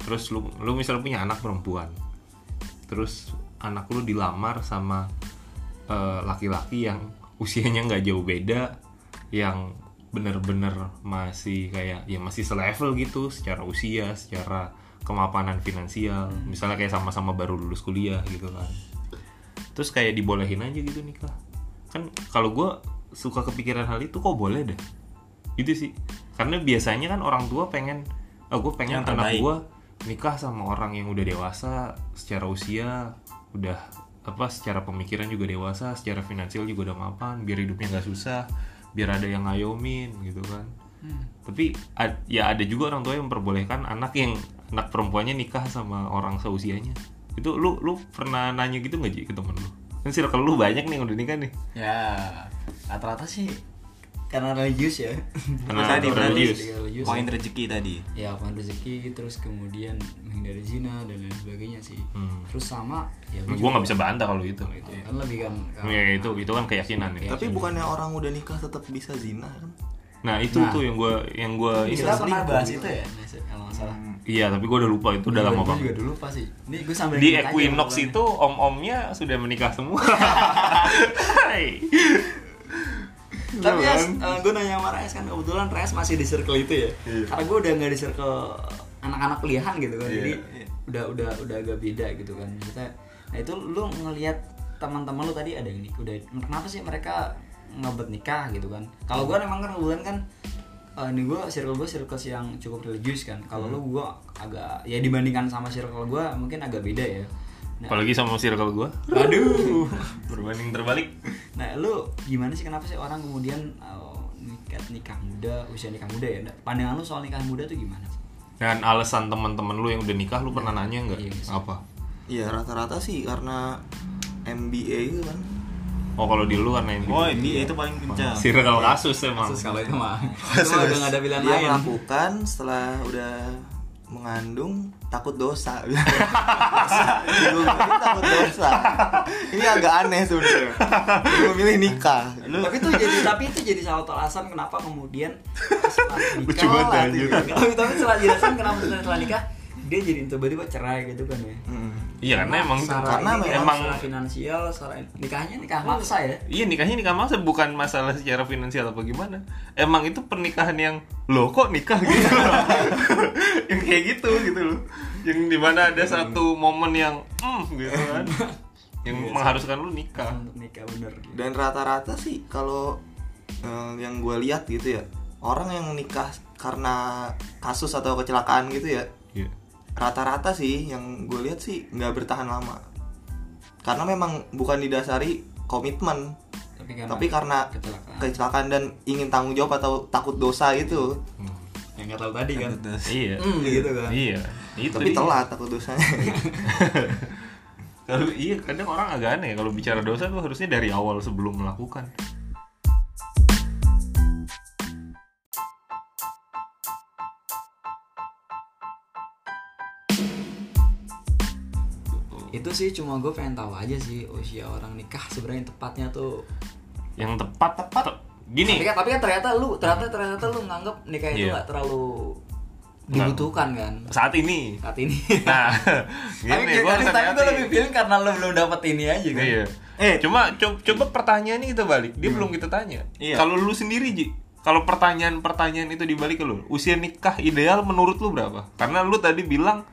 [SPEAKER 2] terus lu lu misalnya punya anak perempuan terus anak lu dilamar sama eh, laki-laki yang usianya nggak jauh beda yang bener-bener masih kayak ya masih selevel gitu secara usia secara kemapanan finansial
[SPEAKER 3] Hmm.
[SPEAKER 2] misalnya kayak sama-sama baru lulus kuliah gitu kan terus kayak dibolehin aja gitu nikah kan kalau gue suka kepikiran hal itu kok boleh deh itu sih karena biasanya kan orang tua pengen gue pengen
[SPEAKER 3] Yang
[SPEAKER 2] anak
[SPEAKER 3] terbaik.
[SPEAKER 2] gue nikah sama orang yang udah dewasa secara usia udah apa secara pemikiran juga dewasa secara finansial juga udah mapan biar hidupnya nggak susah biar ada yang ngayomin gitu kan tapi ad- ya ada juga orang tua yang memperbolehkan anak yang anak perempuannya nikah sama orang seusianya itu lu lu pernah nanya gitu nggak Ji ke temen lu kan circle lu banyak nih yang udah nikah nih
[SPEAKER 1] Ya, rata-rata sih karena religius ya.
[SPEAKER 2] Karena
[SPEAKER 1] Tadi,
[SPEAKER 2] religius.
[SPEAKER 1] religius.
[SPEAKER 3] Poin rezeki tadi.
[SPEAKER 1] ya apaan rezeki terus kemudian menghindari zina dan lain sebagainya sih
[SPEAKER 2] Hmm.
[SPEAKER 1] terus sama ya
[SPEAKER 2] gue nggak bisa bantah kalau itu
[SPEAKER 1] itu kan lebih kan
[SPEAKER 2] ya itu itu kan keyakinan ya
[SPEAKER 4] Tapi bukannya orang udah nikah tetap bisa zina kan?
[SPEAKER 2] nah itu
[SPEAKER 1] Nah.
[SPEAKER 2] tuh yang gue yang gua ini
[SPEAKER 1] kita pernah bahas itu ya kalau nggak salah
[SPEAKER 2] iya tapi gue udah lupa itu udah lama
[SPEAKER 1] Iya, Gua juga
[SPEAKER 2] banget
[SPEAKER 1] dulu pasti ini gue sambil
[SPEAKER 2] di
[SPEAKER 1] ingat aja
[SPEAKER 2] Equinox
[SPEAKER 1] ngobrolnya.
[SPEAKER 2] itu om-omnya sudah menikah
[SPEAKER 1] <laughs>
[SPEAKER 2] semua Hai. Iya
[SPEAKER 1] Tapi ya,
[SPEAKER 2] kan?
[SPEAKER 1] gue nanya sama Res kan kebetulan Res masih di circle itu ya.
[SPEAKER 2] Iya.
[SPEAKER 1] Karena gue udah nggak di circle anak-anak kuliahan gitu kan. Jadi udah udah udah agak beda gitu kan. Maksudnya, nah itu lu ngelihat teman-teman lu tadi ada yang nik- udah kenapa sih mereka ngebet nikah gitu kan? Kalau gue emang kan kebetulan kan eh, ini gue circle gue circle yang
[SPEAKER 2] Hmm.
[SPEAKER 1] cukup religius kan. Kalau lu gue agak ya dibandingkan sama circle gue mungkin agak beda ya.
[SPEAKER 2] apalagi sama circle gue aduh berbanding terbalik
[SPEAKER 1] Nah, lu gimana sih kenapa sih orang kemudian oh, nikah nikah muda, usia nikah muda ya? Pandangan lu soal nikah muda tuh gimana?
[SPEAKER 2] dan alasan teman-teman lu yang udah nikah lu pernah nanya nggak
[SPEAKER 1] Iya, bisa.
[SPEAKER 2] apa
[SPEAKER 4] Iya rata-rata sih karena MBA itu kan.
[SPEAKER 2] oh kalau di lu karena ini
[SPEAKER 3] Oh, ini itu paling kencang.
[SPEAKER 2] circle kasus emang
[SPEAKER 1] iya. kalau itu mah. Iya,
[SPEAKER 4] Kasus.
[SPEAKER 1] udah nggak ada pilihan
[SPEAKER 4] Dia
[SPEAKER 1] lain.
[SPEAKER 4] melakukan setelah udah mengandung takut
[SPEAKER 1] <laughs>
[SPEAKER 4] dosa. Dosa. Gua bilang, takut dosa. Ini agak aneh sebenarnya. Dia memilih nikah.
[SPEAKER 1] tapi itu jadi tapi itu jadi salah satu alasan kenapa kemudian <laughs> setelah nikah
[SPEAKER 2] Lucu banget,
[SPEAKER 1] Telat,
[SPEAKER 2] anjir.
[SPEAKER 1] gitu. tapi tapi setelah alasan kenapa setelah setelah nikah dia jadi tiba-tiba cerai gitu kan ya
[SPEAKER 4] Mm.
[SPEAKER 2] iya karena emang
[SPEAKER 1] Secara
[SPEAKER 4] Karena
[SPEAKER 1] ini,
[SPEAKER 4] memang-
[SPEAKER 1] emang secara finansial secara nikahnya nikah maksa ya
[SPEAKER 2] Iya nikahnya nikah maksa bukan masalah secara finansial apa gimana. Emang itu pernikahan yang loh kok nikah <laughs> gitu loh. yang kayak gitu gitu loh. Yang dimana ada satu momen yang hmm gitu kan. Yang mengharuskan lu nikah.
[SPEAKER 1] untuk nikah bener gitu.
[SPEAKER 4] Dan rata-rata sih kalau eh, yang gue lihat gitu ya orang yang nikah karena kasus atau kecelakaan gitu ya
[SPEAKER 2] Iya.
[SPEAKER 4] rata-rata sih yang gue lihat sih nggak bertahan lama karena memang bukan didasari komitmen
[SPEAKER 1] tapi karena,
[SPEAKER 4] tapi karena
[SPEAKER 1] kecelakaan
[SPEAKER 4] kecelakaan dan ingin tanggung jawab atau takut dosa gitu
[SPEAKER 1] yang nggak tahu tadi kan
[SPEAKER 2] Iya.
[SPEAKER 1] hmm, gitu kan
[SPEAKER 2] Iya. Itu
[SPEAKER 4] tapi
[SPEAKER 2] dia.
[SPEAKER 4] telat takut dosanya
[SPEAKER 2] Kalau iya kadang orang agak aneh kalau bicara dosa lu harusnya dari awal sebelum melakukan.
[SPEAKER 1] itu sih cuma gue pengen tahu aja sih usia orang nikah sebenarnya yang tepatnya tuh
[SPEAKER 2] Yang tepat tepat.
[SPEAKER 1] tapi
[SPEAKER 2] Gini.
[SPEAKER 1] kan, tapi kan ternyata lu ternyata ternyata lu nganggep nikah itu
[SPEAKER 2] Iya.
[SPEAKER 1] nggak terlalu
[SPEAKER 2] Nggak.
[SPEAKER 1] dibutuhkan kan
[SPEAKER 2] Saat ini.
[SPEAKER 1] saat ini
[SPEAKER 2] Nah,
[SPEAKER 1] tapi
[SPEAKER 2] gini,
[SPEAKER 1] kayak tadi
[SPEAKER 2] gua harus
[SPEAKER 1] tapi gue
[SPEAKER 2] hati-hati.
[SPEAKER 1] lebih feeling karena lu belum dapet ini aja kan
[SPEAKER 2] Iya.
[SPEAKER 3] Eh.
[SPEAKER 2] cuma co- coba pertanyaannya kita balik.
[SPEAKER 1] Hmm.
[SPEAKER 2] Dia belum kita tanya.
[SPEAKER 3] Iya.
[SPEAKER 2] Kalau lu sendiri Ji, kalau pertanyaan-pertanyaan itu dibalik ke lu, usia nikah ideal menurut lu berapa? Karena lu tadi bilang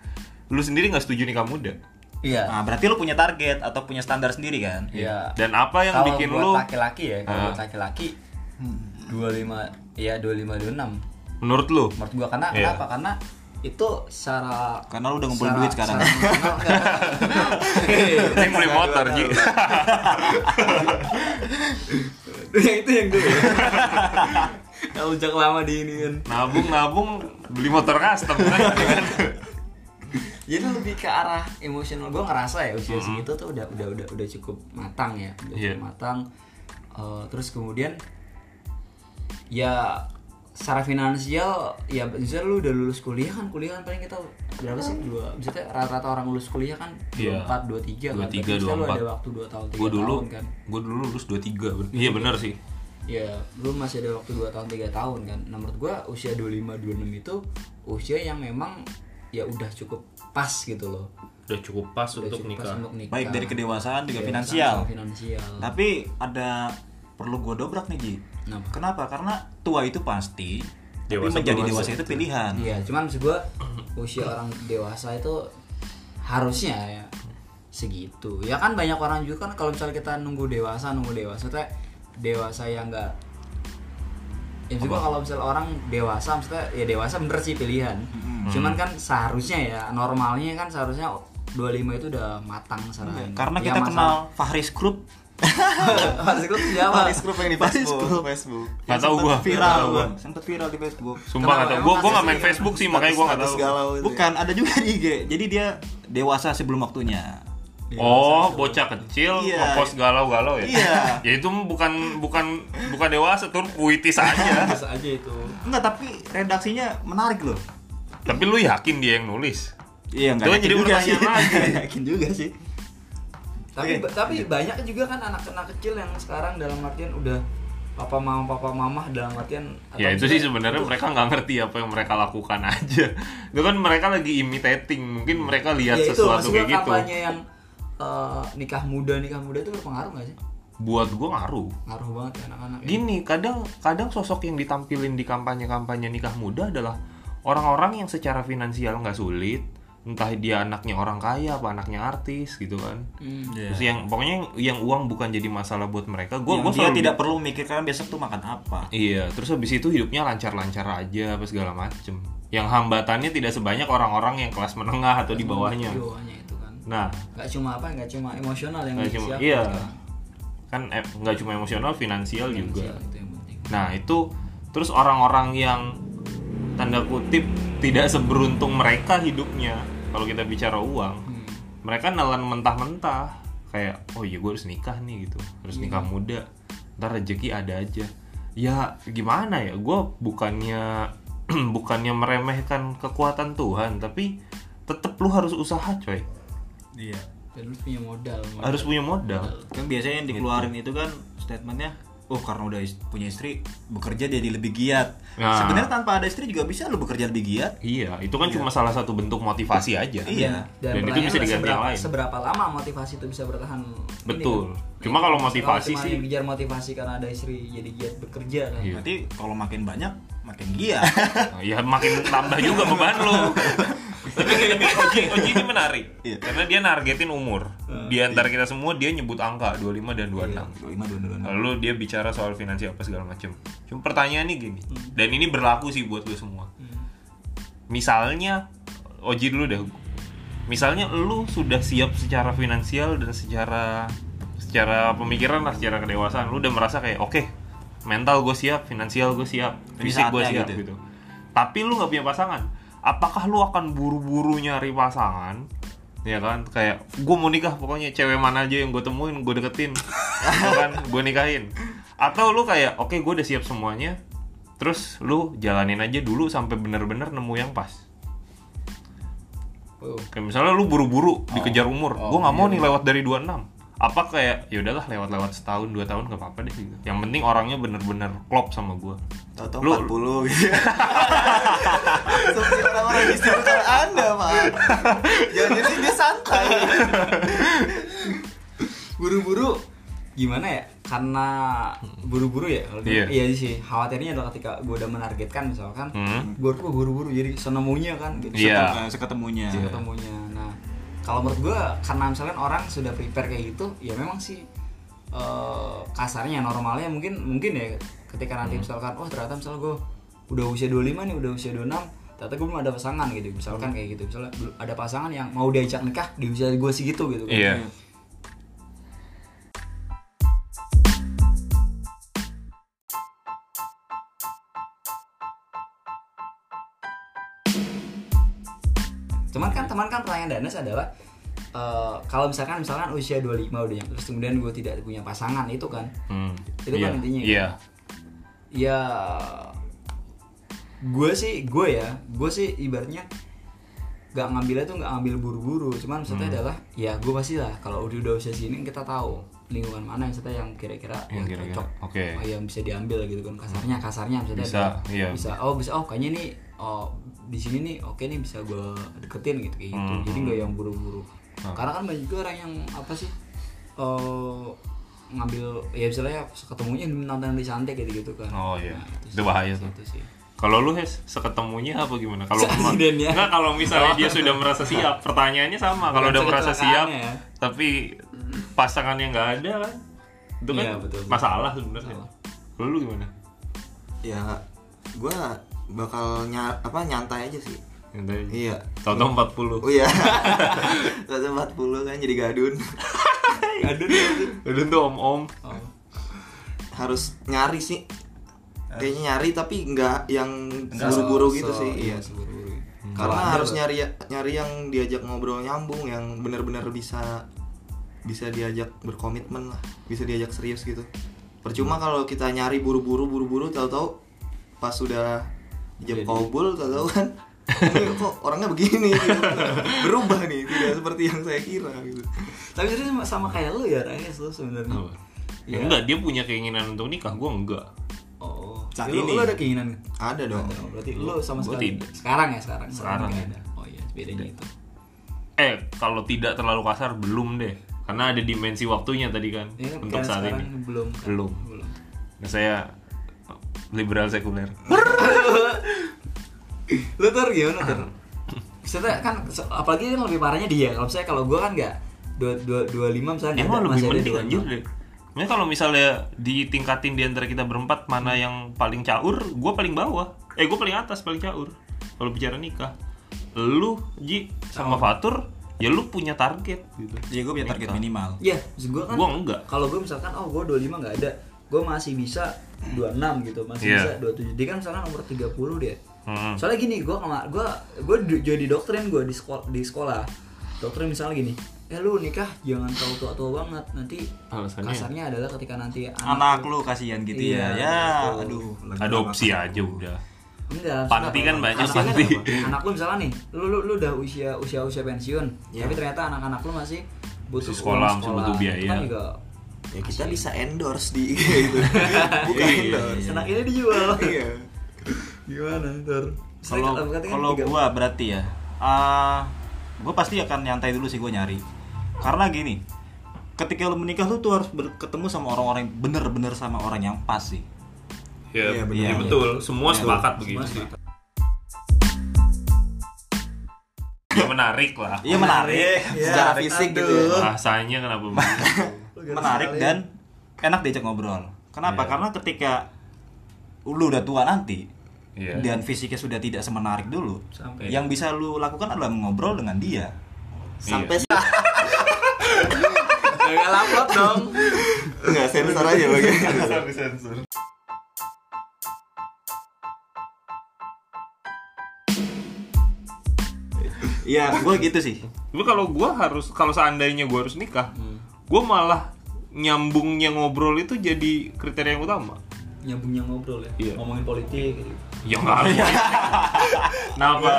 [SPEAKER 2] lu sendiri nggak setuju nikah muda.
[SPEAKER 1] iya
[SPEAKER 3] Nah, berarti lu punya target atau punya standar sendiri kan?
[SPEAKER 1] iya
[SPEAKER 2] Ah, Dan apa yang
[SPEAKER 1] kalau
[SPEAKER 2] bikin
[SPEAKER 1] buat
[SPEAKER 2] lu
[SPEAKER 1] laki-laki ya kalau
[SPEAKER 2] Ah.
[SPEAKER 1] buat laki-laki dua lima ya dua lima dua enam
[SPEAKER 2] menurut
[SPEAKER 1] <laughs>
[SPEAKER 2] lu?
[SPEAKER 1] menurut gua karena
[SPEAKER 2] Iya.
[SPEAKER 1] kenapa karena itu secara
[SPEAKER 3] Karena lu udah ngumpulin
[SPEAKER 1] secara-
[SPEAKER 3] duit sekarang.
[SPEAKER 1] secara
[SPEAKER 2] <laughs>
[SPEAKER 1] emosional, enggak.
[SPEAKER 2] Ini beli motor Ji.
[SPEAKER 1] yang itu yang <laughs> gue kalau sejak lama di ini kan
[SPEAKER 2] Nabung-nabung beli motor custom
[SPEAKER 1] <laughs>
[SPEAKER 2] kan.
[SPEAKER 1] jadi lebih ke arah emosional gue ngerasa ya usia segitu tuh udah udah udah udah cukup matang ya udah
[SPEAKER 2] Iya.
[SPEAKER 1] cukup matang Eh, terus kemudian ya secara finansial ya misalnya lu udah lulus kuliah kan kuliah kan paling kita berapa sih dua misalnya rata-rata orang lulus kuliah kan dua
[SPEAKER 2] Iya.
[SPEAKER 1] empat dua tiga kan
[SPEAKER 2] 23,
[SPEAKER 1] Berarti misalnya lu
[SPEAKER 2] 24.
[SPEAKER 1] ada waktu dua tahun tiga
[SPEAKER 2] Gue dulu,
[SPEAKER 1] tahun kan
[SPEAKER 2] gue dulu lulus 23 bener. Iya benar sih.
[SPEAKER 1] ya lu masih ada waktu 2 tahun 3 tahun kan nah menurut gua usia 25 26 itu usia yang memang ya udah cukup pas gitu loh
[SPEAKER 2] Udah cukup pas
[SPEAKER 1] udah
[SPEAKER 2] untuk
[SPEAKER 1] cukup
[SPEAKER 2] nikah.
[SPEAKER 1] pas untuk nikah
[SPEAKER 3] Baik dari kedewasaan juga
[SPEAKER 1] Kedewasaan
[SPEAKER 4] Iya,
[SPEAKER 3] finansial.
[SPEAKER 1] sama finansial
[SPEAKER 3] Tapi ada perlu gue dobrak nih Ji.
[SPEAKER 1] Kenapa?
[SPEAKER 3] Kenapa? Karena tua itu pasti,
[SPEAKER 2] Dewasa
[SPEAKER 3] tapi menjadi
[SPEAKER 2] belum
[SPEAKER 3] dewasa itu pilihan.
[SPEAKER 1] iya cuman maksud gua usia orang dewasa itu harusnya ya segitu ya kan banyak orang juga kan kalau misalnya kita nunggu dewasa nunggu dewasa teh dewasa yang enggak ya maksud gua kalau misalnya orang dewasa maksudnya ya dewasa bener sih pilihan cuman kan seharusnya ya normalnya kan seharusnya 25 itu udah matang secara ini.
[SPEAKER 3] Karena
[SPEAKER 1] Ya,
[SPEAKER 3] kita
[SPEAKER 1] <laughs>
[SPEAKER 3] kenal
[SPEAKER 1] masalah-
[SPEAKER 3] Fahris Group
[SPEAKER 1] Fahris Group siapa?
[SPEAKER 4] Paris grup yang di Facebook Facebook
[SPEAKER 2] Nggak tahu gua.
[SPEAKER 4] viral
[SPEAKER 2] Nggak tahu
[SPEAKER 4] gua
[SPEAKER 2] gua.
[SPEAKER 4] sempet viral di Facebook
[SPEAKER 2] Sumpah
[SPEAKER 1] Kenapa?
[SPEAKER 2] kata gue,
[SPEAKER 1] Emang
[SPEAKER 2] gue nggak
[SPEAKER 1] kasus
[SPEAKER 2] main
[SPEAKER 1] ini
[SPEAKER 2] Facebook sih makanya gue nggak
[SPEAKER 4] Status
[SPEAKER 2] tahu.
[SPEAKER 4] galau itu.
[SPEAKER 3] Bukan, ada juga di IG. Jadi dia dewasa sebelum waktunya.
[SPEAKER 2] Oh, bocah kecil
[SPEAKER 3] Iya.
[SPEAKER 2] ngepost galau-galau ya?
[SPEAKER 3] Iya.
[SPEAKER 2] ya itu bukan bukan bukan dewasa tuh puitis aja.
[SPEAKER 1] Bisa aja itu.
[SPEAKER 3] Enggak, tapi redaksinya menarik loh.
[SPEAKER 2] Tapi lu yakin dia yang nulis?
[SPEAKER 3] Iya,
[SPEAKER 2] Itu jadi pertanyaan
[SPEAKER 3] <laughs>
[SPEAKER 2] lagi.
[SPEAKER 3] Nggak yakin juga sih.
[SPEAKER 1] Tapi
[SPEAKER 3] Oke.
[SPEAKER 1] tapi banyak juga kan anak-anak kecil yang sekarang dalam artian udah papa mama papa mamah dalam artian
[SPEAKER 2] Ya itu sih sebenarnya mereka nggak ngerti apa yang mereka lakukan aja. Itu kan mereka lagi imitating, mungkin mereka
[SPEAKER 3] Ya
[SPEAKER 2] lihat sesuatu kayak gitu.
[SPEAKER 1] Ya, kampanye yang eh, nikah muda nikah muda itu berpengaruh nggak sih
[SPEAKER 2] Buat gue ngaruh.
[SPEAKER 1] ngaruh banget ya anak-anak ya.
[SPEAKER 2] Gini, kadang kadang sosok yang ditampilin di kampanye-kampanye nikah muda adalah orang-orang yang secara finansial nggak sulit, entah dia anaknya orang kaya apa anaknya artis gitu kan.
[SPEAKER 1] Hmm.
[SPEAKER 2] Terus yang pokoknya yang, yang uang bukan jadi masalah buat mereka. Gue
[SPEAKER 3] Iya. Yang
[SPEAKER 2] gue
[SPEAKER 3] dia
[SPEAKER 2] selalu
[SPEAKER 3] tidak perlu mikirkan kan besok tuh makan apa.
[SPEAKER 2] Iya, terus habis itu hidupnya lancar-lancar aja apa segala macem. Yang hambatannya tidak sebanyak orang-orang yang kelas menengah atau di bawahnya.
[SPEAKER 3] Iya.
[SPEAKER 1] Di bawahnya itu kan
[SPEAKER 2] Nah,
[SPEAKER 1] nggak cuma apa nggak cuma emosional yang
[SPEAKER 2] nggak cuma
[SPEAKER 1] disiapkan
[SPEAKER 2] iya
[SPEAKER 1] sekarang.
[SPEAKER 2] kan eh, nggak cuma emosional, finansial juga.
[SPEAKER 1] Finansial itu yang penting
[SPEAKER 2] Nah itu terus orang-orang yang tanda kutip tidak seberuntung mereka hidupnya kalau kita bicara uang,
[SPEAKER 1] Hmm.
[SPEAKER 2] mereka nelan mentah-mentah kayak oh iya gue harus nikah nih gitu, harus nikah muda, ntar rezeki ada aja. Ya gimana ya, gue bukannya <clears throat> bukannya meremehkan kekuatan Tuhan, tapi tetap lu harus usaha coy,
[SPEAKER 3] Iya.
[SPEAKER 1] dan lu punya modal modal.
[SPEAKER 2] harus punya modal.
[SPEAKER 3] Kan biasanya yang dikeluarin itu kan statementnya Oh karena udah is- punya istri bekerja jadi lebih giat.
[SPEAKER 2] Nah.
[SPEAKER 3] Sebenarnya tanpa ada istri juga bisa lu bekerja lebih giat.
[SPEAKER 2] Iya, itu kan cuma salah satu bentuk motivasi aja.
[SPEAKER 3] Iya.
[SPEAKER 2] Dan, itu
[SPEAKER 1] pertanyaan
[SPEAKER 2] bisa diganti yang
[SPEAKER 1] seberapa,
[SPEAKER 2] lain.
[SPEAKER 1] seberapa lama motivasi itu bisa bertahan ini
[SPEAKER 2] Betul.
[SPEAKER 1] kan? Nah,
[SPEAKER 2] Cuma kalau
[SPEAKER 1] itu
[SPEAKER 2] motivasi
[SPEAKER 1] cuma
[SPEAKER 2] sih-
[SPEAKER 1] dikejar motivasi karena ada istri jadi giat bekerja kan
[SPEAKER 2] Iya.
[SPEAKER 3] Berarti kalau makin banyak makin giat.
[SPEAKER 1] <laughs>
[SPEAKER 2] Nah, Ya makin tambah juga beban lo. Tapi gini, Oji, Oji ini menarik.
[SPEAKER 3] Iya. Hmm.
[SPEAKER 2] Karena dia nargetin umur. Di antara kita semua dia nyebut angka 25 dan 26.
[SPEAKER 3] 25 22.
[SPEAKER 2] Lalu dia bicara soal finansial apa segala macam. Cuma pertanyaannya gini.
[SPEAKER 3] Hmm.
[SPEAKER 2] Dan ini berlaku sih buat lo semua.
[SPEAKER 1] Hmm.
[SPEAKER 2] Misalnya Oji dulu deh. Misalnya lu sudah siap secara finansial dan secara secara pemikiran lah, secara kedewasaan, lu udah merasa kayak oke, mental gue siap, finansial gue siap,
[SPEAKER 3] Ini
[SPEAKER 2] fisik gue
[SPEAKER 3] saatnya
[SPEAKER 2] siap
[SPEAKER 3] gitu.
[SPEAKER 2] gitu. Tapi lu nggak punya pasangan. Apakah lu akan buru-buru nyari pasangan? Ya kan, kayak gue mau nikah pokoknya cewek mana aja yang gue temuin gue
[SPEAKER 1] <laughs>
[SPEAKER 2] deketin, ya kan, gue nikahin. Atau lu kayak oke gue udah siap semuanya, terus lu jalanin aja dulu sampai bener-bener nemu yang pas.
[SPEAKER 1] Wow.
[SPEAKER 2] Kayak misalnya lu buru-buru dikejar umur,
[SPEAKER 1] Oh,
[SPEAKER 2] gue nggak mau nih lewat dari 26 apa kayak ya udahlah lewat-lewat setahun dua tahun nggak apa-apa deh gitu. yang penting orangnya bener-bener klop sama gue
[SPEAKER 4] Tahu-tahu
[SPEAKER 2] Lu-
[SPEAKER 4] <laughs> 40 gitu. Seperti orang-orang di sekitar Anda, Pak. Jangan-jangan dia santai.
[SPEAKER 1] buru-buru gimana ya karena buru-buru ya kalau dia- iya
[SPEAKER 2] Iya.
[SPEAKER 1] sih khawatirnya adalah ketika gue udah menargetkan misalkan
[SPEAKER 2] Hmm.
[SPEAKER 1] gue harus buru-buru jadi senemunya kan gitu
[SPEAKER 2] Iya.
[SPEAKER 3] Seketemunya.
[SPEAKER 1] Iya. ketemunya. Nah, kalau menurut gue karena misalkan orang sudah prepare kayak gitu, ya memang sih eh, kasarnya normalnya mungkin mungkin ya ketika nanti misalkan wah ternyata misal gue udah usia 25 nih, udah usia 26 ternyata gue belum ada pasangan gitu misalkan kayak gitu misalnya belum ada pasangan yang mau diajak nikah di usia gue segitu gitu kan.
[SPEAKER 2] Iya.
[SPEAKER 1] Cuman kan teman kan pertanyaan Danes adalah eh, kalau misalkan misalkan usia 25 udah terus kemudian gue tidak punya pasangan itu kan
[SPEAKER 2] Hmm.
[SPEAKER 1] Itu kan
[SPEAKER 2] Iya.
[SPEAKER 1] intinya, kan?
[SPEAKER 2] Iya.
[SPEAKER 1] ya gue sih gue ya gue sih ibaratnya nggak ngambilnya tuh nggak ngambil buru-buru cuman
[SPEAKER 2] Hmm.
[SPEAKER 1] maksudnya adalah ya gue pasti lah kalau udah udah usia sini kita tahu lingkungan mana yang maksudnya yang kira-kira
[SPEAKER 2] Yang
[SPEAKER 1] wah,
[SPEAKER 2] kira-kira,
[SPEAKER 1] cocok
[SPEAKER 2] oke.
[SPEAKER 1] Oh, yang bisa diambil gitu kan kasarnya kasarnya maksudnya
[SPEAKER 2] Bisa,
[SPEAKER 1] adalah,
[SPEAKER 2] iya.
[SPEAKER 1] bisa oh bisa oh kayaknya nih oh di sini nih oke nih bisa gue deketin gitu kayak gitu
[SPEAKER 2] Hmm.
[SPEAKER 1] jadi nggak yang buru-buru karena kan banyak juga orang yang apa sih eh ngambil ya misalnya ketemunya nonton di santai gitu gitu kan
[SPEAKER 2] Oh iya.
[SPEAKER 1] Nah,
[SPEAKER 2] itu bahaya
[SPEAKER 1] sih,
[SPEAKER 2] tuh.
[SPEAKER 1] itu sih.
[SPEAKER 2] Kalau lu Hes, seketemunya apa gimana? Kalau
[SPEAKER 1] Seasidennya.
[SPEAKER 2] enggak kalau misalnya
[SPEAKER 1] <laughs>
[SPEAKER 2] dia sudah merasa siap, pertanyaannya sama.
[SPEAKER 1] Bukan
[SPEAKER 2] Kalau udah merasa siap,
[SPEAKER 1] kecelakaannya ya.
[SPEAKER 2] tapi pasangannya nggak ada kan, itu kan
[SPEAKER 1] Iya, betul.
[SPEAKER 2] masalah sebenarnya. Kalau lu gimana?
[SPEAKER 4] Ya, gua bakal nya- apa nyantai aja sih.
[SPEAKER 2] Yang tadi.
[SPEAKER 4] Iya.
[SPEAKER 2] Tahu-tahu 40.
[SPEAKER 4] Oh iya. <laughs> Satu empat puluh kan jadi gadun.
[SPEAKER 1] Aduh.
[SPEAKER 2] Lu tuh om-om.
[SPEAKER 1] Oh.
[SPEAKER 4] Harus nyari sih. Kayaknya nyari tapi nggak yang
[SPEAKER 3] Nggak
[SPEAKER 1] So-
[SPEAKER 4] buru-buru gitu
[SPEAKER 1] so-
[SPEAKER 4] sih. Iya.
[SPEAKER 1] seburu-buru. gitu.
[SPEAKER 2] Hmm.
[SPEAKER 4] Karena
[SPEAKER 1] Kalau
[SPEAKER 4] harus
[SPEAKER 1] ada-
[SPEAKER 4] nyari ya, nyari yang diajak ngobrol nyambung, yang benar-benar bisa bisa diajak berkomitmen lah, bisa diajak serius gitu. Percuma kalau kita nyari buru-buru buru-buru tahu-tahu pas sudah jam kobul tahu-tahu kan "Ini kok orangnya begini <laughs> gitu. berubah nih tidak seperti yang saya kira gitu
[SPEAKER 1] Tapi itu sama, sama kayak lu ya, Rangis lu sebenarnya. Iya.
[SPEAKER 2] Apa? Ya, Enggak, dia punya keinginan untuk nikah, gua enggak.
[SPEAKER 1] Oh.
[SPEAKER 3] Saat
[SPEAKER 1] Jadi lu,
[SPEAKER 3] ini.
[SPEAKER 1] lu ada keinginan nggak?
[SPEAKER 4] ada dong
[SPEAKER 1] Ada. Berarti lu sama
[SPEAKER 2] Gua
[SPEAKER 1] sekali.
[SPEAKER 2] tidak.
[SPEAKER 1] Sekarang ya sekarang.
[SPEAKER 2] Sekarang
[SPEAKER 1] nggak
[SPEAKER 2] ya.
[SPEAKER 1] ada. Oh iya, bedanya itu.
[SPEAKER 2] Eh, kalau tidak terlalu kasar belum deh. Karena ada dimensi waktunya tadi kan
[SPEAKER 1] Ini kan karena
[SPEAKER 2] untuk saat
[SPEAKER 1] sekarang
[SPEAKER 2] ini.
[SPEAKER 1] belum. kan?
[SPEAKER 2] Belum.
[SPEAKER 1] Belum.
[SPEAKER 2] Nah, saya liberal sekuler.
[SPEAKER 1] lu tuh gimana
[SPEAKER 2] Ah.
[SPEAKER 1] tuh? Maksudnya kan se- apalagi kan lebih parahnya dia. Kalau saya kalau gua kan enggak dua dua dua lima misalnya
[SPEAKER 2] Ya
[SPEAKER 1] nggak
[SPEAKER 2] mah
[SPEAKER 1] ada- Iya,
[SPEAKER 2] lebih
[SPEAKER 1] masih ada
[SPEAKER 2] mending
[SPEAKER 1] 25.
[SPEAKER 2] anjir deh. Nah, kalau misalnya ditingkatin di antara kita berempat mana yang paling caur, gue paling bawah. Eh gue paling atas paling caur. Kalau bicara nikah, lu Ji sama Fatur ya lu punya target gitu
[SPEAKER 3] Jadi gue punya target minimal.
[SPEAKER 1] Iya, maksud gue kan
[SPEAKER 2] Gua enggak.
[SPEAKER 1] Kalau gue misalkan oh gue 25 nggak ada, gue masih bisa 26 gitu, masih
[SPEAKER 2] Iya.
[SPEAKER 1] bisa 27. Dia kan misalkan umur 30 dia.
[SPEAKER 2] Hmm.
[SPEAKER 1] Soalnya gini, gue gue gue jadi doktrin gue di sekolah di sekolah. Doktrin misalnya gini, eh lu nikah jangan terlalu tua-tua banget nanti
[SPEAKER 2] Alasannya?
[SPEAKER 1] kasarnya adalah ketika nanti
[SPEAKER 3] Anak lu kasihan gitu
[SPEAKER 1] Iya,
[SPEAKER 3] ya. Ya,
[SPEAKER 1] betul.
[SPEAKER 3] aduh. lagi
[SPEAKER 2] adopsi aja udah
[SPEAKER 1] Enggak.
[SPEAKER 2] Panti kan banyak,
[SPEAKER 1] anak,
[SPEAKER 2] panti.
[SPEAKER 1] Anak lu misalnya nih, lu lu, lu udah usia usia usia pensiun,
[SPEAKER 3] Iya.
[SPEAKER 1] tapi ternyata anak-anak lu masih butuh
[SPEAKER 2] Masih
[SPEAKER 1] uang
[SPEAKER 2] sekolah, masih butuh
[SPEAKER 1] Itu
[SPEAKER 2] biaya.
[SPEAKER 1] Kan juga
[SPEAKER 4] ya kita bisa endorse di IG gitu <laughs> bukan
[SPEAKER 2] Iya.
[SPEAKER 4] endorse
[SPEAKER 1] senang ini dijual.
[SPEAKER 4] iya
[SPEAKER 1] Gimana ntar?
[SPEAKER 3] Kalau
[SPEAKER 1] kan
[SPEAKER 3] kalau gua berarti ya, ah gua pasti akan nyantai dulu sih gua nyari. Karena gini, ketika lu menikah lu tuh harus ber- ketemu sama orang-orang yang bener-bener sama orang yang pas sih.
[SPEAKER 2] ya, betul.
[SPEAKER 4] Iya, benar.
[SPEAKER 2] Ya,
[SPEAKER 3] Iya.
[SPEAKER 2] betul semua sepakat begitu
[SPEAKER 1] Semua
[SPEAKER 2] sih ya menarik lah
[SPEAKER 3] Iya menarik,
[SPEAKER 4] secara fisik gitu ya.
[SPEAKER 2] bahasanya kenapa begitu
[SPEAKER 3] menarik dan enak diajak ngobrol. Kenapa?
[SPEAKER 2] Iya.
[SPEAKER 3] Karena ketika lu udah tua nanti
[SPEAKER 2] Iya.
[SPEAKER 3] dan fisiknya sudah tidak semenarik dulu,
[SPEAKER 1] Sampai.
[SPEAKER 3] yang bisa lu lakukan adalah ngobrol dengan dia.
[SPEAKER 4] sampai
[SPEAKER 2] Iya.
[SPEAKER 4] saat
[SPEAKER 1] Gak lapot dong.
[SPEAKER 4] nggak sensor aja bagian
[SPEAKER 3] Iya, gua gitu sih.
[SPEAKER 2] Tapi kalau gua harus kalau seandainya gua harus nikah, gua malah nyambungnya ngobrol itu jadi kriteria yang utama.
[SPEAKER 1] Nyambungnya ngobrol ya.
[SPEAKER 2] Iya.
[SPEAKER 1] Ngomongin politik gitu.
[SPEAKER 2] Ya <laughs> nggak harus. Kenapa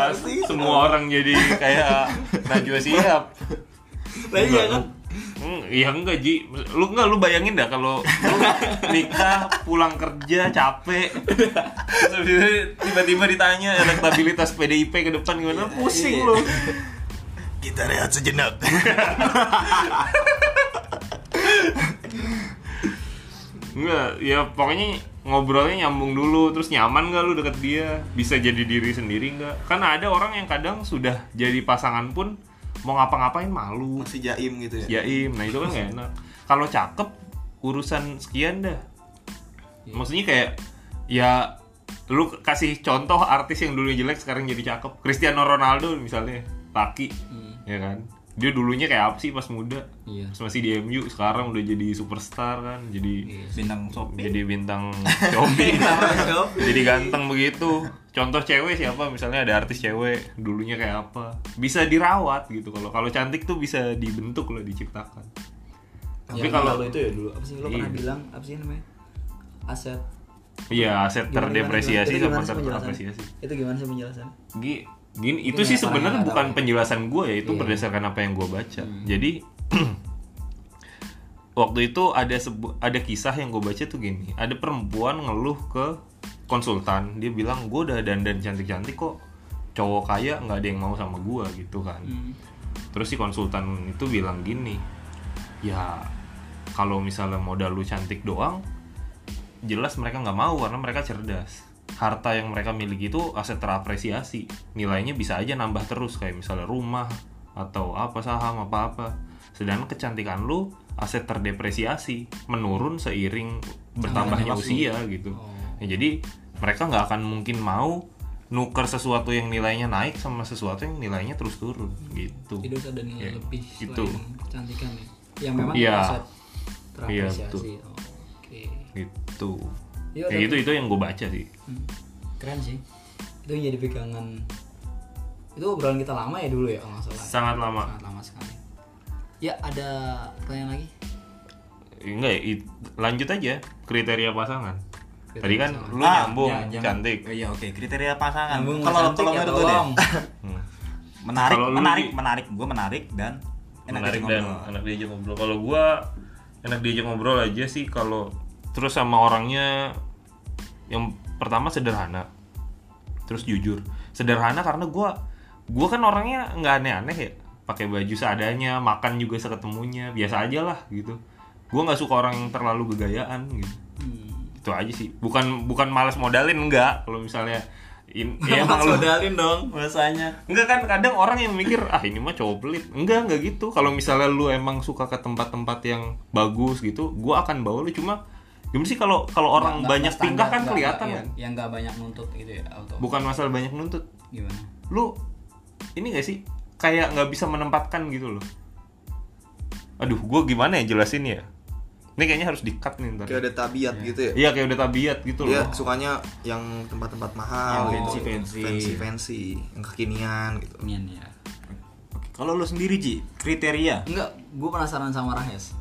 [SPEAKER 2] semua orang jadi kayak Najwa Sihab?
[SPEAKER 1] Lah iya kan.
[SPEAKER 2] Hmm, ya enggak Ji, lu enggak lu bayangin dah kalau lu nikah pulang kerja capek Terus habis itu tiba-tiba ditanya elektabilitas PDIP ke depan gimana pusing lu
[SPEAKER 4] kita rehat sejenak
[SPEAKER 2] Enggak, ya pokoknya ngobrolnya nyambung dulu Terus nyaman gak lu deket dia? Bisa jadi diri sendiri nggak? Kan ada orang yang kadang sudah jadi pasangan pun Mau ngapa-ngapain malu
[SPEAKER 4] masih jaim gitu ya
[SPEAKER 2] Jaim, nah itu kan gak enak Kalau cakep, urusan sekian dah Maksudnya kayak Ya lu kasih contoh artis yang dulunya jelek sekarang jadi cakep Cristiano Ronaldo misalnya Laki, ya kan? Dia dulunya kayak apa sih pas muda?
[SPEAKER 1] Iya.
[SPEAKER 2] Terus masih di MU, sekarang udah jadi superstar kan Jadi
[SPEAKER 3] Bintang Sopi.
[SPEAKER 2] jadi bintang
[SPEAKER 1] <laughs>
[SPEAKER 2] Shopee jadi ganteng begitu contoh cewek siapa misalnya ada artis cewek dulunya kayak apa bisa dirawat gitu kalau kalau cantik tuh bisa dibentuk loh diciptakan
[SPEAKER 1] Ya,
[SPEAKER 2] tapi kalau
[SPEAKER 1] kalau itu ya dulu apa sih lo pernah
[SPEAKER 2] Iya.
[SPEAKER 1] bilang apa sih namanya? Aset
[SPEAKER 2] iya aset
[SPEAKER 1] Gimana, gimana,
[SPEAKER 2] terdepresiasi
[SPEAKER 1] gimana? Itu
[SPEAKER 2] sama
[SPEAKER 1] gimana sih penjelasannya?
[SPEAKER 2] terapresiasi
[SPEAKER 1] Itu gimana sih penjelasannya?
[SPEAKER 2] Gi- gini
[SPEAKER 1] Ini
[SPEAKER 2] itu sih
[SPEAKER 1] nggak salah,
[SPEAKER 2] sebenarnya
[SPEAKER 1] nggak
[SPEAKER 2] bukan
[SPEAKER 1] tahu.
[SPEAKER 2] penjelasan gue ya itu
[SPEAKER 1] Iya.
[SPEAKER 2] berdasarkan apa yang gue baca jadi <clears throat> waktu itu ada sebu- ada kisah yang gue baca tuh gini ada perempuan ngeluh ke konsultan dia bilang gue udah dandan cantik cantik kok cowok kaya nggak ada yang mau sama gue gitu kan terus si konsultan itu bilang gini ya kalau misalnya modal lu cantik doang jelas mereka nggak mau karena mereka cerdas harta yang mereka miliki itu aset terapresiasi nilainya bisa aja nambah terus kayak misalnya rumah atau apa saham apa apa sedangkan kecantikan lu aset terdepresiasi menurun seiring bertambahnya usia gitu
[SPEAKER 1] Oh.
[SPEAKER 2] Ya, jadi mereka nggak akan mungkin mau nuker sesuatu yang nilainya naik sama sesuatu yang nilainya terus turun gitu
[SPEAKER 1] Itu ada nilai
[SPEAKER 2] Ya,
[SPEAKER 1] lebih
[SPEAKER 2] gitu.
[SPEAKER 1] selain kecantikan ya. Yang memang
[SPEAKER 2] Iya.
[SPEAKER 1] aset
[SPEAKER 2] Iya, betul.
[SPEAKER 1] terapresiasi. Oh, Oke.
[SPEAKER 2] gitu
[SPEAKER 1] Iya,
[SPEAKER 2] ya
[SPEAKER 1] tapi-
[SPEAKER 2] itu itu yang gue baca sih
[SPEAKER 1] Hmm. Keren sih. Itu yang jadi pegangan. Itu obrolan kita lama ya dulu ya kalau nggak salah.
[SPEAKER 2] sangat lama
[SPEAKER 1] Sangat lama sekali. Ya ada pertanyaan lagi?
[SPEAKER 2] enggak ya, it- lanjut aja kriteria pasangan
[SPEAKER 1] Kriteria
[SPEAKER 2] tadi kan
[SPEAKER 1] pasangan.
[SPEAKER 2] lu
[SPEAKER 3] Ah,
[SPEAKER 2] nyambung
[SPEAKER 3] ya, jangan-
[SPEAKER 2] cantik
[SPEAKER 3] Oh, Iya, oke. Kriteria pasangan.
[SPEAKER 1] Nyambung
[SPEAKER 3] Kalau
[SPEAKER 1] cantik
[SPEAKER 3] kalau
[SPEAKER 1] ya,
[SPEAKER 3] menurut gue deh, <laughs>
[SPEAKER 1] tolong.
[SPEAKER 2] Hmm.
[SPEAKER 3] menarik,
[SPEAKER 2] Kalau lu,
[SPEAKER 3] menarik,
[SPEAKER 2] Ji.
[SPEAKER 3] menarik. Gue menarik dan enak
[SPEAKER 2] menarik
[SPEAKER 3] diajak
[SPEAKER 2] dan
[SPEAKER 3] ngobrol.
[SPEAKER 2] enak diajak ngobrol kalau gue enak diajak ngobrol aja sih kalau terus sama orangnya yang pertama sederhana terus jujur sederhana karena gue gue kan orangnya nggak aneh-aneh ya pakai baju seadanya makan juga seketemunya biasa aja lah gitu gue nggak suka orang yang terlalu gegayaan gitu
[SPEAKER 3] Hmm.
[SPEAKER 2] itu aja sih bukan bukan malas modalin enggak kalau misalnya
[SPEAKER 3] <laughs>
[SPEAKER 2] in, ya emang lu-
[SPEAKER 3] modalin dong bahasanya.
[SPEAKER 2] Enggak kan kadang orang yang mikir ah ini mah cowok pelit. Enggak, enggak gitu. Kalau misalnya lu emang suka ke tempat-tempat yang bagus gitu, gua akan bawa lu cuma gimana sih kalau kalau orang
[SPEAKER 1] Nggak-
[SPEAKER 2] banyak
[SPEAKER 1] nggak
[SPEAKER 2] tingkah
[SPEAKER 1] standar,
[SPEAKER 2] kan
[SPEAKER 1] nggak-
[SPEAKER 2] kelihatan
[SPEAKER 1] nggak-
[SPEAKER 2] kan.
[SPEAKER 1] iya, Yang nggak banyak nuntut gitu ya auto.
[SPEAKER 2] Bukan masalah banyak nuntut.
[SPEAKER 1] Gimana?
[SPEAKER 2] Lu ini gak sih kayak nggak bisa menempatkan gitu loh aduh gue gimana ya jelasin ya ini kayaknya harus di cut nih ntar
[SPEAKER 4] kayak ada tabiat gitu ya
[SPEAKER 2] iya kayak udah tabiat gitu
[SPEAKER 4] dia
[SPEAKER 2] loh
[SPEAKER 4] sukanya yang tempat-tempat mahal
[SPEAKER 3] Yang
[SPEAKER 4] gitu.
[SPEAKER 3] fancy-fancy.
[SPEAKER 4] fancy fancy yang kekinian gitu
[SPEAKER 1] Nian ya.
[SPEAKER 3] Kalau lu sendiri Ji, kriteria.
[SPEAKER 1] Enggak, gue penasaran sama Rahes.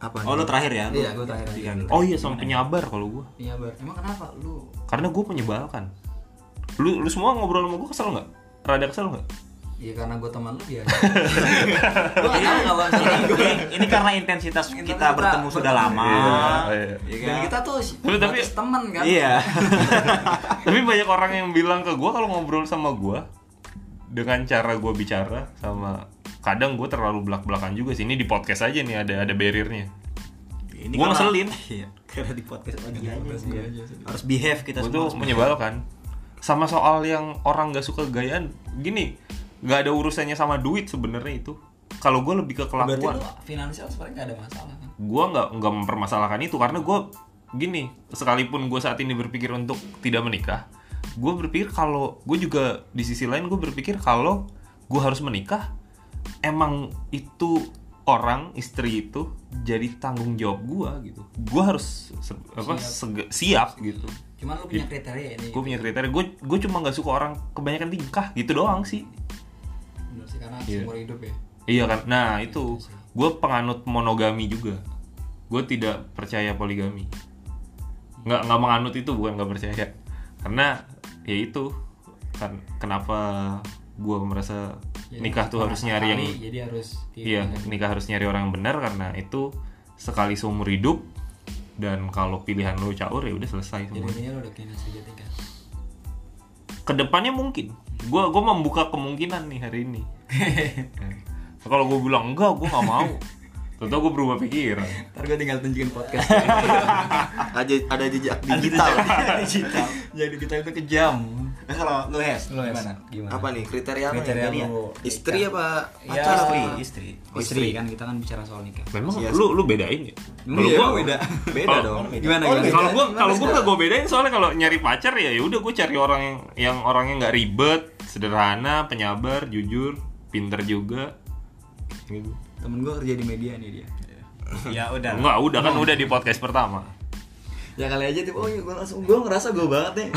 [SPEAKER 4] apa
[SPEAKER 3] Oh lu terakhir ya? Lu
[SPEAKER 1] Iya, gua terakhir aja.
[SPEAKER 3] Tiga-
[SPEAKER 2] oh iya
[SPEAKER 1] ya?
[SPEAKER 2] sama penyabar kalau gue
[SPEAKER 1] Iya, Bar. Emang kenapa lu?
[SPEAKER 2] karena gue menyebalkan lu lu semua ngobrol sama gue kesel nggak rada kesel nggak
[SPEAKER 1] Ya karena gue teman lu
[SPEAKER 2] <laughs>
[SPEAKER 1] biasa. gue gak tau gak bakal
[SPEAKER 3] ini, ini karena intensitas kita,
[SPEAKER 1] Intensitas
[SPEAKER 3] bertemu
[SPEAKER 1] kita
[SPEAKER 3] sudah lama.
[SPEAKER 2] Iya, iya.
[SPEAKER 3] Iya kan?
[SPEAKER 1] Dan kita tuh
[SPEAKER 2] Lu tapi-
[SPEAKER 1] batas temen kan.
[SPEAKER 3] Iya.
[SPEAKER 2] tapi banyak orang yang bilang ke gue kalau ngobrol sama gue dengan cara gue bicara sama kadang gue terlalu belak belakan juga sih ini di podcast aja nih ada ada barriernya
[SPEAKER 3] ini
[SPEAKER 2] Gua
[SPEAKER 3] karena-
[SPEAKER 2] ngeselin.
[SPEAKER 3] Iya, karena di podcast lagi aja.
[SPEAKER 1] Batas gua aja sih.
[SPEAKER 3] Harus behave kita
[SPEAKER 2] gue
[SPEAKER 3] semua.
[SPEAKER 2] tuh
[SPEAKER 3] <laughs> harus behave.
[SPEAKER 2] menyebalkan sama soal yang orang gak suka gayaan gini nggak ada urusannya sama duit sebenarnya itu kalau gue lebih ke
[SPEAKER 1] Berarti
[SPEAKER 2] kelakuan
[SPEAKER 1] lu finansial sebenarnya gak ada masalah kan?
[SPEAKER 2] gue nggak nggak mempermasalahkan itu karena gue gini sekalipun gue saat ini berpikir untuk tidak menikah gue berpikir kalau gue juga di sisi lain gue berpikir kalau gue harus menikah emang itu orang istri itu jadi tanggung jawab gue gitu gue harus se- apa sege- siap gitu
[SPEAKER 1] Cuman lu punya kriteria ini.
[SPEAKER 2] gue punya kriteria gue gue cuma nggak suka orang kebanyakan tingkah gitu doang sih
[SPEAKER 1] Bener sih karena
[SPEAKER 2] Iya.
[SPEAKER 1] seumur hidup ya.
[SPEAKER 2] iya kan nah itu gue penganut monogami juga gue tidak percaya poligami nggak nggak menganut itu bukan nggak percaya karena ya itu kan kenapa gue merasa
[SPEAKER 1] Jadi
[SPEAKER 2] nikah tuh
[SPEAKER 1] orang gitu ya.
[SPEAKER 2] harus nyari yang
[SPEAKER 1] ahli, jadi harus kan. di-
[SPEAKER 2] Iya, nikah harus nyari orang yang benar karena itu sekali seumur hidup dan kalau pilihan lu caur ya udah selesai
[SPEAKER 1] Jadi
[SPEAKER 2] semua.
[SPEAKER 1] intinya lu udah kena sejati kan.
[SPEAKER 2] Kedepannya mungkin. Gua gua membuka kemungkinan nih hari ini. Ya. kalau gue bilang enggak, gue nggak
[SPEAKER 1] <laughs>
[SPEAKER 2] mau. Tentu gue berubah pikiran.
[SPEAKER 1] <laughs> Ntar gue tinggal tunjukin podcast
[SPEAKER 4] ada ada jejak digital
[SPEAKER 3] Digital.
[SPEAKER 1] Jadi kita itu kejam
[SPEAKER 3] Nah, kalau lu Hes, gimana?
[SPEAKER 1] Gimana?
[SPEAKER 4] apa nih kriteria apa
[SPEAKER 1] Kriteria
[SPEAKER 4] nih?
[SPEAKER 1] lu
[SPEAKER 4] istri
[SPEAKER 1] nikah.
[SPEAKER 4] apa
[SPEAKER 1] Iya.
[SPEAKER 4] pacar apa?
[SPEAKER 3] Istri, istri.
[SPEAKER 1] Oh, istri kan kita kan bicara soal nikah
[SPEAKER 2] Memang
[SPEAKER 4] Iya
[SPEAKER 2] lu lu bedain ya. Kalau
[SPEAKER 4] Iya,
[SPEAKER 3] Oh,
[SPEAKER 2] gua
[SPEAKER 4] beda beda
[SPEAKER 2] Kalau-
[SPEAKER 4] dong
[SPEAKER 1] Gimana
[SPEAKER 4] Oh,
[SPEAKER 1] gimana?
[SPEAKER 4] beda.
[SPEAKER 2] kalau gua
[SPEAKER 4] Gimana
[SPEAKER 2] kalau gua
[SPEAKER 4] beda?
[SPEAKER 2] nggak gua bedain soalnya kalau nyari pacar ya ya udah gua cari orang yang yang orangnya nggak ribet, sederhana, penyabar, jujur, pinter juga. Gitu.
[SPEAKER 1] Temen gue kerja di media nih dia
[SPEAKER 3] Ya udah.
[SPEAKER 2] Enggak, udah kan udah di podcast <laughs> pertama.
[SPEAKER 1] Ya kali aja tuh, oh iya gue langsung, gue ngerasa gue banget nih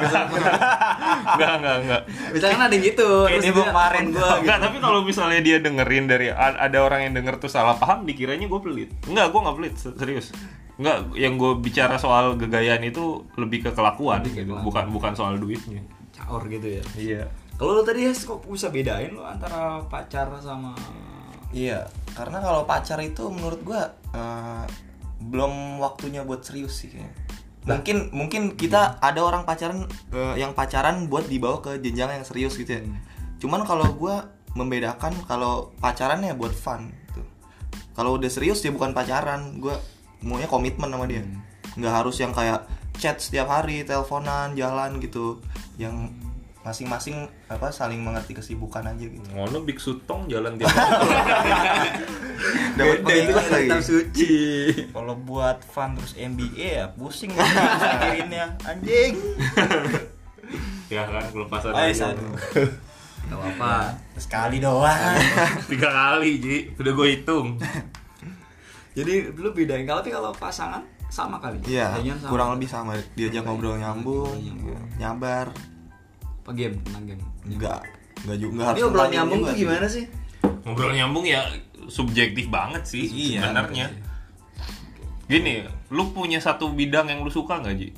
[SPEAKER 2] Enggak, enggak, enggak.
[SPEAKER 1] Misalkan ada yang gitu
[SPEAKER 3] Kayak
[SPEAKER 1] terus
[SPEAKER 3] dia mau
[SPEAKER 1] dia
[SPEAKER 3] kemarin
[SPEAKER 1] temen
[SPEAKER 3] gua
[SPEAKER 1] gua
[SPEAKER 2] Enggak, tapi kalau misalnya dia dengerin dari a- ada orang yang denger tuh salah paham, dikiranya gue pelit. Enggak, gue nggak pelit, se- serius. Enggak, yang gue bicara soal gegayaan itu lebih ke kelakuan gitu, bukan bukan soal duitnya.
[SPEAKER 1] Caur gitu ya
[SPEAKER 2] Iya.
[SPEAKER 1] Kalau lo tadi Hes, kok bisa bedain lo antara pacar sama
[SPEAKER 4] iya karena kalau pacar itu menurut gua eh, belum waktunya buat serius sih kayaknya mungkin mungkin kita ada orang pacaran eh, yang pacaran buat dibawa ke jenjang yang serius gitu ya cuman kalau gua membedakan kalau pacarannya buat fun gitu. kalau udah serius ya bukan pacaran gua maunya komitmen sama dia nggak harus yang kayak chat setiap hari teleponan jalan gitu yang masing-masing apa saling mengerti kesibukan aja gitu
[SPEAKER 2] Ngono Biksu Tong jalan tiap hari.
[SPEAKER 4] dapat pengikut lagi
[SPEAKER 1] kitab suci
[SPEAKER 3] Kalau buat fun terus MBA ya pusing <laughs> kan mikirinnya anjing.
[SPEAKER 2] <laughs> ya kan kelepasan
[SPEAKER 3] Ayo
[SPEAKER 2] aja.
[SPEAKER 3] satu.
[SPEAKER 1] Gak apa-apa
[SPEAKER 3] Sekali doang.
[SPEAKER 2] Tiga kali, Ji. Udah gue hitung.
[SPEAKER 1] Jadi lu bedain, kalau tapi kalau pasangan sama kali
[SPEAKER 4] Iya,
[SPEAKER 1] Bedanya sama.
[SPEAKER 4] kurang lebih sama. Diajak ngobrol nyambung, ya.
[SPEAKER 1] Nyambung. Iya.
[SPEAKER 4] nyabar.
[SPEAKER 1] Apa game? Tentang game
[SPEAKER 4] Enggak, enggak juga enggak
[SPEAKER 1] Ini
[SPEAKER 4] harus.
[SPEAKER 1] obrolan
[SPEAKER 4] pertanyaan
[SPEAKER 1] nyambung
[SPEAKER 4] juga
[SPEAKER 1] tuh
[SPEAKER 4] sih.
[SPEAKER 1] gimana sih?
[SPEAKER 2] Ngobrol nyambung ya subjektif banget sih
[SPEAKER 3] Iya.
[SPEAKER 2] sebenarnya. Gini, lu punya satu bidang yang lu suka nggak, Ji?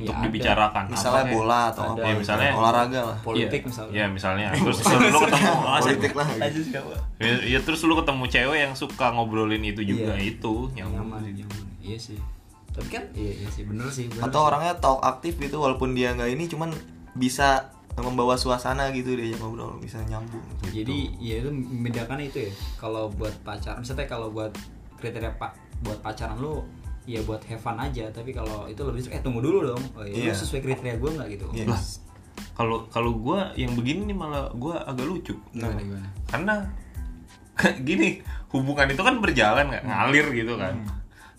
[SPEAKER 2] Untuk
[SPEAKER 1] Ya, ada.
[SPEAKER 2] dibicarakan.
[SPEAKER 4] Misalnya
[SPEAKER 2] Apa,
[SPEAKER 4] bola atau apa?
[SPEAKER 2] Ya, misalnya-
[SPEAKER 4] olahraga lah.
[SPEAKER 1] Politik
[SPEAKER 2] Iya.
[SPEAKER 1] misalnya
[SPEAKER 2] Iya, misalnya. Terus lu ketemu
[SPEAKER 4] Politik lah. gitu.
[SPEAKER 3] Lanjut siapa?
[SPEAKER 2] Ya, ya, terus lu ketemu cewek yang suka ngobrolin itu juga
[SPEAKER 1] Iya.
[SPEAKER 2] itu nyambung.
[SPEAKER 1] nyaman, nyaman. Iya sih. Tapi kan iya, iya sih, bener sih. Bener
[SPEAKER 4] Atau
[SPEAKER 1] sih.
[SPEAKER 4] orangnya talk aktif gitu walaupun dia enggak ini cuman bisa membawa suasana gitu diajak ngobrol, bisa nyambung.
[SPEAKER 2] Iya.
[SPEAKER 1] Jadi ya itu membedakan itu ya. Kalau buat pacaran, misalnya kalau buat kriteria pak buat pacaran lu ya buat have fun aja tapi kalau itu lebih eh tunggu dulu dong oh, iya, lu
[SPEAKER 4] Iya.
[SPEAKER 1] sesuai kriteria gue nggak gitu
[SPEAKER 4] Iya.
[SPEAKER 2] Lah, kalau kalau gua yang begini nih malah gua agak lucu.
[SPEAKER 1] gimana gimana
[SPEAKER 2] karena <laughs>
[SPEAKER 4] Hmm.
[SPEAKER 2] gini hubungan itu kan berjalan nggak ngalir gitu kan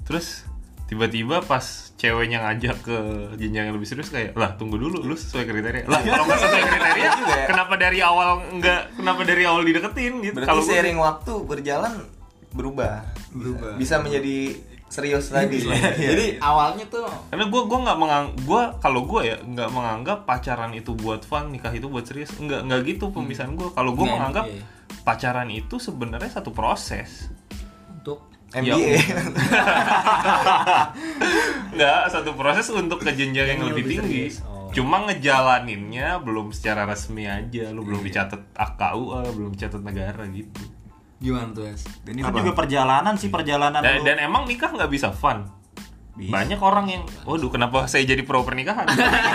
[SPEAKER 2] terus tiba-tiba pas ceweknya ngajak ke jenjang yang lebih serius kayak lah tunggu dulu lu sesuai kriteria lah kalau nggak sesuai kriteria
[SPEAKER 4] Iya. Juga ya.
[SPEAKER 2] kenapa dari awal nggak kenapa dari awal dideketin gitu
[SPEAKER 4] Berarti
[SPEAKER 2] kalau gua-
[SPEAKER 4] seiring waktu berjalan berubah.
[SPEAKER 3] Berubah.
[SPEAKER 4] Bisa menjadi serius lagi.
[SPEAKER 2] ya.
[SPEAKER 4] <laughs>
[SPEAKER 3] Jadi awalnya tuh
[SPEAKER 2] karena gue gua nggak mengang gua kalau gue ya nggak menganggap pacaran itu buat fun nikah itu buat serius nggak nggak gitu pemisahan gue kalau gue
[SPEAKER 1] Nggak,
[SPEAKER 2] menganggap
[SPEAKER 1] iya.
[SPEAKER 2] pacaran itu sebenarnya satu proses
[SPEAKER 1] untuk
[SPEAKER 2] Iya. Ya,
[SPEAKER 4] MBA.
[SPEAKER 2] nggak satu proses untuk ke jenjang yang lebih Oh. tinggi cuma ngejalaninnya belum secara resmi aja lu belum dicatat AKUA belum dicatat negara gitu
[SPEAKER 1] gimana tuh es
[SPEAKER 3] dan itu juga perjalanan sih perjalanan
[SPEAKER 2] dan,
[SPEAKER 3] lu.
[SPEAKER 2] dan emang nikah nggak bisa fun
[SPEAKER 3] Bisa.
[SPEAKER 2] banyak orang yang waduh kenapa saya jadi pro pernikahan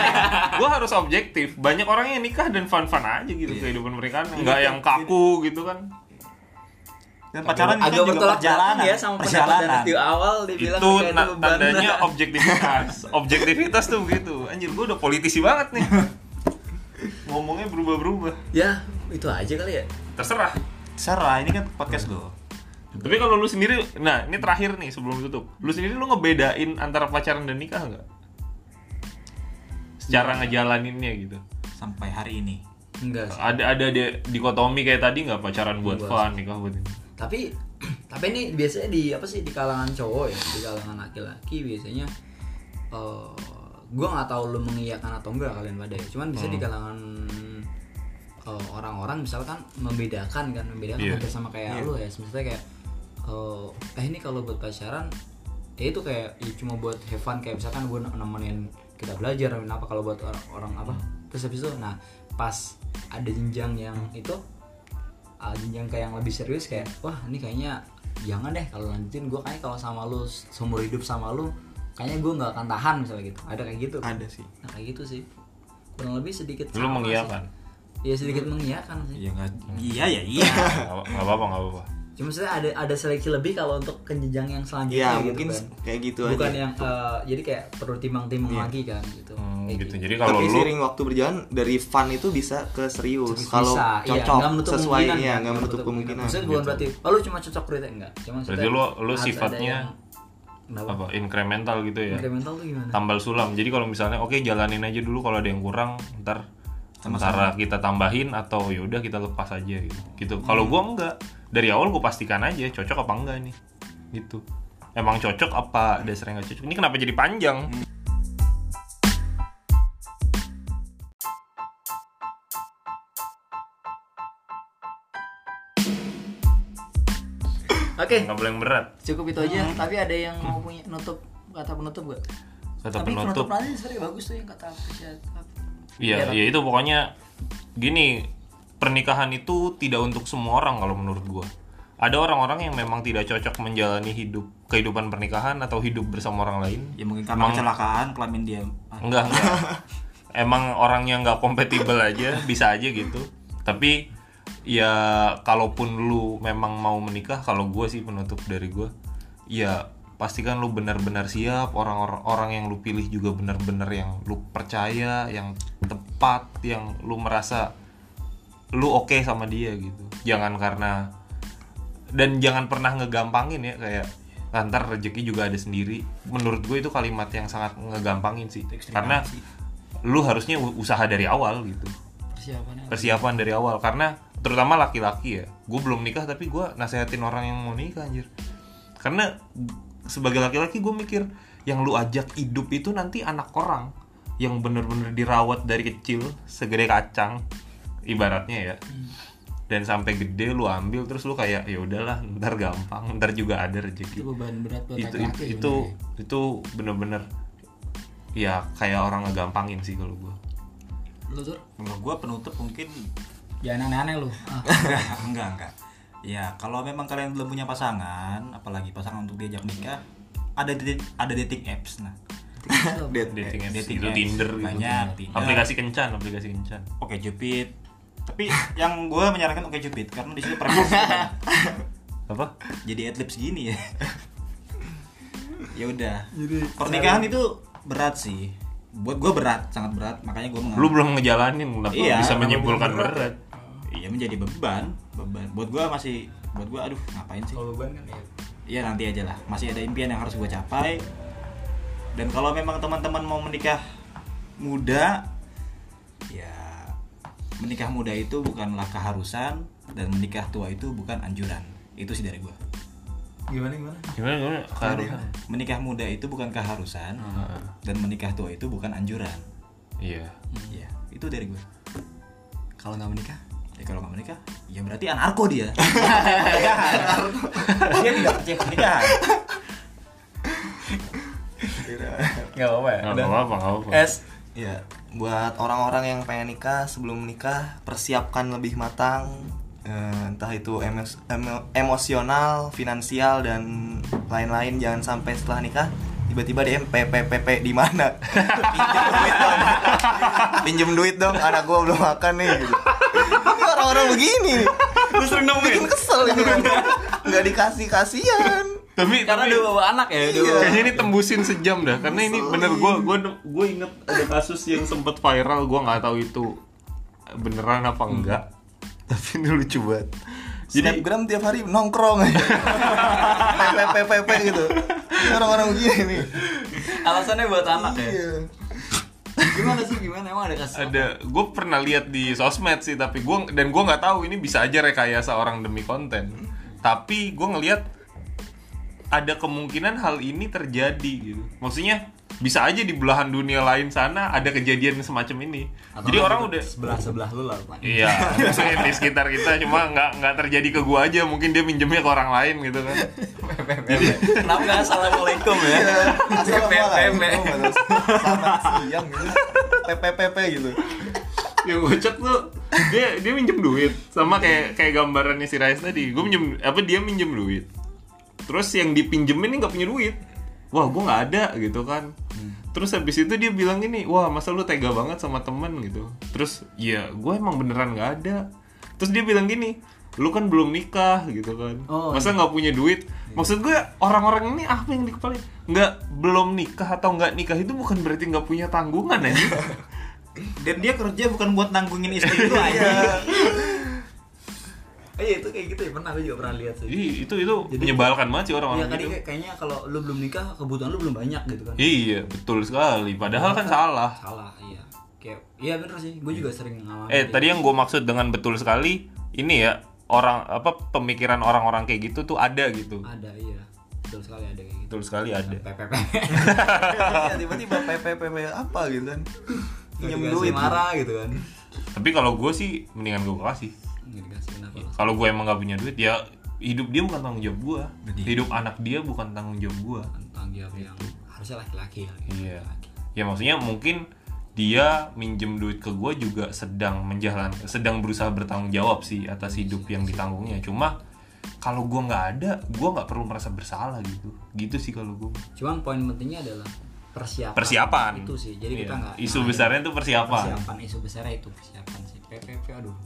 [SPEAKER 2] <laughs> gue harus objektif banyak orang yang nikah dan fun fun aja gitu kehidupan pernikahan nggak yang kaku gitu kan
[SPEAKER 3] dan pacaran itu
[SPEAKER 1] agak
[SPEAKER 3] juga
[SPEAKER 1] bertolak
[SPEAKER 3] perjalanan
[SPEAKER 1] belakang ya sama perjalanan
[SPEAKER 3] perjalanan
[SPEAKER 1] di awal dibilang
[SPEAKER 2] itu
[SPEAKER 1] kayak
[SPEAKER 2] na-
[SPEAKER 1] beban.
[SPEAKER 2] tandanya objektivitas objektivitas tuh begitu anjir gue udah politisi banget nih ngomongnya berubah-berubah
[SPEAKER 1] ya itu aja kali ya
[SPEAKER 2] terserah
[SPEAKER 3] Serah, ini kan podcast lo.
[SPEAKER 2] tapi kalau lu sendiri nah ini terakhir nih sebelum tutup lu sendiri lu ngebedain antara pacaran dan nikah nggak secara ngejalaninnya gitu
[SPEAKER 3] Sampai hari ini.
[SPEAKER 1] enggak sih.
[SPEAKER 2] ada ada di dikotomi kayak tadi nggak pacaran buat fun nikah buat
[SPEAKER 1] <laughs>
[SPEAKER 2] ini
[SPEAKER 1] tapi <clears throat> tapi ini biasanya di apa sih di kalangan cowok ya di kalangan laki-laki biasanya eh gue nggak tahu lu mengiyakan atau enggak kalian pada ya cuman bisa di kalangan eh, orang-orang misalkan membedakan kan membedakan
[SPEAKER 2] Iya.
[SPEAKER 1] hampir sama kayak lu ya misalnya kayak eh, eh ini kalau buat pacaran ya itu kayak ya cuma buat have fun kayak misalkan gue nemenin kita belajar nemenin apa kalau buat orang, orang apa terus habis itu nah pas ada jenjang yang itu ah, jenjang kayak yang lebih serius kayak wah ini kayaknya jangan deh kalau lanjutin gue kayaknya kalau sama lu seumur hidup sama lu kayaknya gue nggak akan tahan misalnya gitu ada kayak gitu
[SPEAKER 4] Ada sih.
[SPEAKER 1] nah kayak gitu sih kurang lebih sedikit
[SPEAKER 2] Lu
[SPEAKER 1] sama
[SPEAKER 2] mengiyakan?
[SPEAKER 1] sih. iya sedikit mengiyakan sih
[SPEAKER 3] Iya nggak? Iya ya iya.
[SPEAKER 2] nggak apa-apa nggak apa-apa
[SPEAKER 1] cuma saya ada ada seleksi lebih kalau untuk ke jenjang yang selanjutnya
[SPEAKER 4] Iya,
[SPEAKER 1] gitu
[SPEAKER 4] mungkin
[SPEAKER 1] kan.
[SPEAKER 4] kayak gitu aja. Iya.
[SPEAKER 1] bukan yang eh, jadi kayak perlu timbang-timbang lagi kan gitu
[SPEAKER 2] Hmm,
[SPEAKER 1] Kayak
[SPEAKER 2] gitu
[SPEAKER 1] gitu.
[SPEAKER 2] jadi kalau
[SPEAKER 4] Tapi
[SPEAKER 2] lu
[SPEAKER 4] seiring waktu berjalan dari fun itu bisa ke serius.
[SPEAKER 1] Bisa,
[SPEAKER 4] Kalau
[SPEAKER 1] iya,
[SPEAKER 4] cocok
[SPEAKER 1] nggak menutup
[SPEAKER 4] sesuai
[SPEAKER 1] kemungkinan,
[SPEAKER 4] ya,
[SPEAKER 1] kan?
[SPEAKER 4] nggak menutup kemungkinan.
[SPEAKER 1] Maksudnya bukan berarti oh, lu cuma cocok kriteria enggak. Cuma
[SPEAKER 2] Berarti
[SPEAKER 1] maksudnya
[SPEAKER 2] lu- lu
[SPEAKER 1] harus ada
[SPEAKER 2] sifatnya
[SPEAKER 1] yang- kenapa?
[SPEAKER 2] apa incremental gitu ya
[SPEAKER 1] Incremental tuh gimana?
[SPEAKER 2] tambal sulam jadi kalau misalnya oke jalanin aja dulu kalau ada yang kurang ntar antara kita tambahin atau yaudah kita lepas aja gitu gitu
[SPEAKER 1] Hmm.
[SPEAKER 2] kalau gua enggak dari awal gua pastikan aja cocok apa enggak nih gitu emang cocok apa dasarnya nggak cocok ini kenapa jadi panjang
[SPEAKER 1] Oke,
[SPEAKER 2] nggak boleh yang berat
[SPEAKER 1] cukup itu aja. Tapi ada yang mau punya nutup kata penutup enggak?
[SPEAKER 2] kata
[SPEAKER 1] Tapi penutup
[SPEAKER 2] penutup
[SPEAKER 1] nanti sebenarnya bagus tuh yang kata appreciate.
[SPEAKER 2] Iya, ya itu pokoknya gini, pernikahan itu tidak untuk semua orang kalau menurut gua. Ada orang-orang yang memang tidak cocok menjalani hidup kehidupan pernikahan atau hidup bersama orang lain.
[SPEAKER 3] Ya mungkin karena kecelakaan kelamin dia. Ah,
[SPEAKER 2] Enggak, enggak. Emang orangnya nggak kompatibel aja, bisa aja gitu. Tapi ya kalaupun lu memang mau menikah, kalau gua sih penutup dari gua, ya pastikan lu benar-benar siap, orang-orang orang yang lu pilih juga benar-benar yang lu percaya, yang tepat, yang lu merasa lu oke sama dia gitu. Jangan karena dan jangan pernah ngegampangin ya kayak "Ah, ntar rezeki juga ada sendiri menurut gue itu kalimat yang sangat ngegampangin sih karena lu harusnya u- usaha dari awal gitu
[SPEAKER 1] Persiapannya.
[SPEAKER 2] persiapan dari awal karena terutama laki-laki ya gue belum nikah tapi gue nasehatin orang yang mau nikah anjir karena sebagai laki-laki gue mikir yang lu ajak hidup itu nanti anak orang yang bener-bener dirawat dari kecil segede kacang ibaratnya ya dan sampai gede lu ambil terus lu kayak ya udahlah ntar gampang ntar juga ada
[SPEAKER 1] Itu
[SPEAKER 2] rezeki
[SPEAKER 1] beban berat buat
[SPEAKER 2] itu
[SPEAKER 1] laki-laki.
[SPEAKER 2] itu itu, itu bener-bener ya kayak orang ngegampangin sih kalau gue
[SPEAKER 1] sebenarnya. ya? lu tuh
[SPEAKER 3] Menurut gua penutup mungkin
[SPEAKER 1] jangan aneh-aneh lu. Ah.
[SPEAKER 3] enggak <laughs> enggak. Ya kalau memang kalian belum punya pasangan, apalagi pasangan untuk diajak nikah, ada di- ada dating apps nah.
[SPEAKER 1] kan,
[SPEAKER 4] Dead.
[SPEAKER 2] dating apps
[SPEAKER 3] dating
[SPEAKER 2] gitu,
[SPEAKER 3] apps.
[SPEAKER 2] Tinder gitu.
[SPEAKER 3] Banyak, Tinder.
[SPEAKER 2] Aplikasi kencan, aplikasi kencan.
[SPEAKER 3] Oke Cupid. Tapi yang gua menyarankan Oke Cupid karena di situ <laughs> preferensi banyak.
[SPEAKER 2] Apa?
[SPEAKER 3] jadi atlet segini ya. ya udah. Pernikahan itu berat sih. Buat gua berat, sangat berat. Makanya gua menganggap
[SPEAKER 2] Lu belum ngejalanin kenapa lu
[SPEAKER 3] Iya,
[SPEAKER 2] bisa
[SPEAKER 3] kenapa
[SPEAKER 2] menyimpulkan
[SPEAKER 3] belum
[SPEAKER 2] berat.
[SPEAKER 3] Iya menjadi beban, beban. Buat gua masih, buat gua aduh ngapain sih?
[SPEAKER 1] Kalau beban kan ya.
[SPEAKER 3] Iya nanti aja lah. Masih ada impian yang harus gua capai. Dan kalau memang teman-teman mau menikah muda, ya menikah muda itu bukanlah keharusan dan menikah tua itu bukan anjuran. Itu sih dari gua.
[SPEAKER 4] Gimana gimana?
[SPEAKER 2] Gimana gimana? Keharusan.
[SPEAKER 3] Menikah muda itu bukan keharusan
[SPEAKER 2] Hmm.
[SPEAKER 3] dan menikah tua itu bukan anjuran.
[SPEAKER 2] Iya.
[SPEAKER 3] Ya, itu dari gua.
[SPEAKER 1] Kalau nggak menikah?
[SPEAKER 3] Ya kalau nggak menikah, ya berarti anarko dia. Pernikahan. dia tidak percaya pernikahan.
[SPEAKER 1] Nggak apa-apa ya.
[SPEAKER 2] Enggak apa-apa, nggak apa-apa.
[SPEAKER 1] Es.
[SPEAKER 4] Ya, buat orang-orang yang pengen nikah sebelum menikah persiapkan lebih matang eh, entah itu emos- emo- emosional, finansial dan lain-lain jangan sampai setelah nikah tiba-tiba DM PPPP di mana? <laughs> Pinjam duit dong. Pinjem duit dong, anak gua belum makan nih. gitu. Ini Orang-orang begini. Lu sering bikin kesel ini. Enggak dikasih kasihan.
[SPEAKER 2] Tapi iya.
[SPEAKER 1] Karena udah bawa anak ya, udah bawa.
[SPEAKER 2] Kayaknya ini tembusin sejam dah karena ini bener gue gue gue inget ada kasus yang sempet viral gue nggak tahu itu beneran apa enggak Hmm. <laughs> tapi ini lucu banget
[SPEAKER 4] Jadi
[SPEAKER 2] jadi
[SPEAKER 4] Snapgram tiap hari nongkrong aja. PPPP gitu. Ini Orang-orang begini nih.
[SPEAKER 1] Alasannya buat anak ya.
[SPEAKER 4] Iya.
[SPEAKER 1] Gimana sih gimana emang ada kasus?
[SPEAKER 2] ada gue pernah lihat di sosmed sih tapi gue dan gue nggak tahu ini bisa aja rekayasa orang demi konten tapi gue ngelihat ada kemungkinan hal ini terjadi gitu maksudnya bisa aja di belahan dunia lain sana ada kejadian semacam ini
[SPEAKER 1] Atau
[SPEAKER 2] jadi
[SPEAKER 1] kan
[SPEAKER 2] orang
[SPEAKER 1] duduk
[SPEAKER 2] udah
[SPEAKER 1] sebelah sebelah lu lah. Pak.
[SPEAKER 2] Iya, maksudnya di sekitar kita cuma nggak nggak terjadi ke gua aja, mungkin dia minjemnya ke orang lain gitu kan.
[SPEAKER 1] Iya, Kenapa nggak assalamualaikum ya?
[SPEAKER 4] Assalamualaikum.
[SPEAKER 1] PPPP.
[SPEAKER 4] Selamat gitu. siang gitu. PPPP gitu.
[SPEAKER 2] Yang gocek tuh dia dia minjem duit sama kayak kayak gambarannya si Rais tadi. Gua minjem apa dia minjem duit. Terus yang dipinjemin ini nggak punya duit. Wah, gua nggak ada gitu kan. Terus habis itu dia bilang gini, wah masa lu tega banget sama temen gitu. Terus ya gue emang beneran nggak ada. Terus dia bilang gini, lu kan belum nikah gitu kan.
[SPEAKER 1] Oh,
[SPEAKER 2] masa nggak punya duit maksud gue orang-orang ini apa yang di kepala nggak belum nikah atau nggak nikah itu bukan berarti nggak punya tanggungan aja
[SPEAKER 3] Dan dia kerja bukan buat nanggungin istri ya. itu aja.
[SPEAKER 1] Iya itu kayak gitu ya pernah gue juga pernah lihat sih.
[SPEAKER 2] jadi itu itu menyebalkan banget sih
[SPEAKER 1] Iya
[SPEAKER 2] orang-orang
[SPEAKER 1] tadi
[SPEAKER 2] Iya, gitu
[SPEAKER 1] kayak- kayaknya kalau lu belum nikah kebutuhan lu belum banyak gitu kan.
[SPEAKER 2] iya betul sekali padahal kan salah
[SPEAKER 1] Salah iya. Kayak iya bener sih. Gue juga sering ngalamin.
[SPEAKER 2] eh tadi yang gue maksud dengan betul sekali ini ya orang apa pemikiran orang-orang kayak gitu tuh ada gitu
[SPEAKER 1] ada iya. Betul sekali ada kayak gitu.
[SPEAKER 2] betul sekali ada
[SPEAKER 1] PPP.
[SPEAKER 2] <laughs>
[SPEAKER 4] Iya, Tiba-tiba PPPP apa gitu kan.
[SPEAKER 1] Pinjam
[SPEAKER 4] Pinjam
[SPEAKER 1] duit
[SPEAKER 4] duit.
[SPEAKER 1] marah gitu kan.
[SPEAKER 2] tapi kalau gue sih mendingan gue kasih
[SPEAKER 1] Nggak dikasih kenapa lu?
[SPEAKER 2] kalau gue emang gak punya duit ya hidup dia bukan tanggung jawab gue hidup anak dia bukan tanggung jawab gue
[SPEAKER 1] Tanggung jawab yang harusnya laki-laki ya.
[SPEAKER 2] Iya. Ya maksudnya mungkin dia minjem duit ke gue juga sedang menjalan, sedang berusaha bertanggung jawab sih atas hidup yang ditanggungnya. Cuma kalau gue nggak ada, gue nggak perlu merasa bersalah gitu. Gitu sih kalau gue.
[SPEAKER 1] Cuman poin pentingnya adalah persiapan.
[SPEAKER 2] Persiapan.
[SPEAKER 1] Itu sih. Jadi kita
[SPEAKER 2] Iya.
[SPEAKER 1] nggak
[SPEAKER 2] Isu
[SPEAKER 1] nah,
[SPEAKER 2] besarnya itu persiapan.
[SPEAKER 1] persiapan isu besarnya itu persiapan sih. PPP aduh.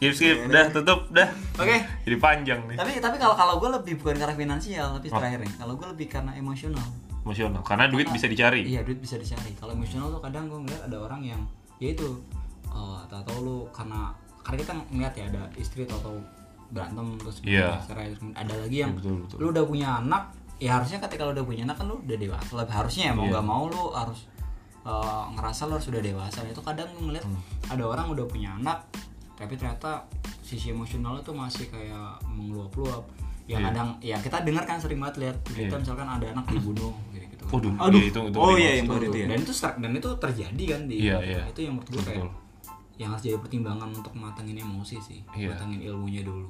[SPEAKER 2] Skip skip, dah tutup dah.
[SPEAKER 1] Iya, Oke.
[SPEAKER 2] Jadi panjang nih.
[SPEAKER 1] tapi tapi kalau kalau gue lebih bukan karena finansial tapi terakhir nih kalau gue lebih karena emosional
[SPEAKER 2] Emosional. Karena duit bisa dicari.
[SPEAKER 1] iya duit bisa dicari kalau emosional tuh kadang gue ngeliat ada orang yang ya itu eh tahu lu karena karena kita ngeliat ya ada istri atau tahu berantem terus
[SPEAKER 2] Iya.
[SPEAKER 1] cerai terus kemudian ada lagi yang
[SPEAKER 2] Iya, betul, betul.
[SPEAKER 1] lu udah punya anak ya harusnya ketika lu udah punya anak kan lu udah dewasa lah harusnya ya mau
[SPEAKER 2] Iya.
[SPEAKER 1] nggak mau lu harus eh, ngerasa lu sudah dewasa itu kadang ngeliat
[SPEAKER 2] Hmm.
[SPEAKER 1] ada orang udah punya anak tapi ternyata sisi emosional itu masih kayak mengeluap-luap ya
[SPEAKER 2] Iya.
[SPEAKER 1] kadang ya kita dengar kan sering banget lihat berita
[SPEAKER 2] Iya.
[SPEAKER 1] misalkan ada anak dibunuh gitu gitu kan.
[SPEAKER 2] Waduh,
[SPEAKER 3] Aduh.
[SPEAKER 2] iya, itu itu.
[SPEAKER 3] Oh
[SPEAKER 2] ngeri
[SPEAKER 3] iya,
[SPEAKER 2] banget.
[SPEAKER 3] yang baru itu ya.
[SPEAKER 1] dan itu strak- dan itu terjadi kan di
[SPEAKER 2] Iya, iya.
[SPEAKER 1] itu yang menurut gue kayak
[SPEAKER 2] Betul.
[SPEAKER 1] yang harus jadi pertimbangan untuk matangin emosi sih
[SPEAKER 2] Iya.
[SPEAKER 1] matangin ilmunya dulu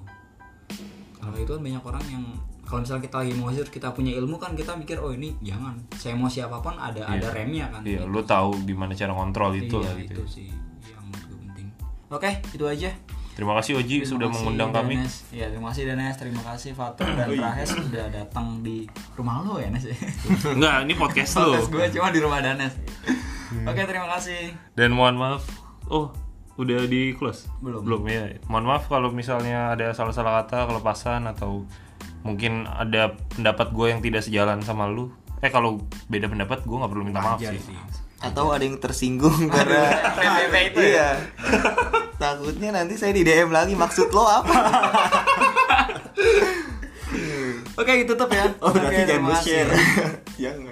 [SPEAKER 1] kalau itu kan banyak orang yang kalau misalnya kita lagi emosi terus kita punya ilmu kan kita mikir oh ini jangan saya emosi apapun ada ada remnya kan
[SPEAKER 2] Iya, lu tahu gimana cara ngontrol itu
[SPEAKER 1] Iya,
[SPEAKER 2] lah gitu.
[SPEAKER 1] itu sih yang menurut gue penting oke itu aja
[SPEAKER 2] Terima kasih Oji
[SPEAKER 1] Terima
[SPEAKER 2] sudah
[SPEAKER 1] kasih,
[SPEAKER 2] mengundang kami. Oh, iya.
[SPEAKER 1] Danes. Iya, terima kasih Danes, terima kasih Fatur dan Rahes sudah datang di rumah lo ya,
[SPEAKER 2] <laughs>
[SPEAKER 1] Nes. <laughs>
[SPEAKER 2] Enggak, ini podcast lu.
[SPEAKER 1] Podcast gue cuma di rumah Danes.
[SPEAKER 2] Iya.
[SPEAKER 1] Oke, terima kasih.
[SPEAKER 2] Dan mohon maaf. Oh, udah di close?
[SPEAKER 1] Belum.
[SPEAKER 2] Belum ya. Mohon maaf kalau misalnya ada salah-salah kata, kelepasan atau mungkin ada pendapat gue yang tidak sejalan sama lu. Eh kalau beda pendapat gue nggak perlu minta maaf sih.
[SPEAKER 4] Atau ada yang tersinggung karena
[SPEAKER 1] PPP itu ya?
[SPEAKER 4] Iya. Takutnya nanti saya di DM lagi maksud lo apa?
[SPEAKER 1] Oke, ditutup ya.
[SPEAKER 4] Oh,
[SPEAKER 1] Oke,
[SPEAKER 4] berarti jangan
[SPEAKER 1] ya. terima kasih.
[SPEAKER 4] share. jangan.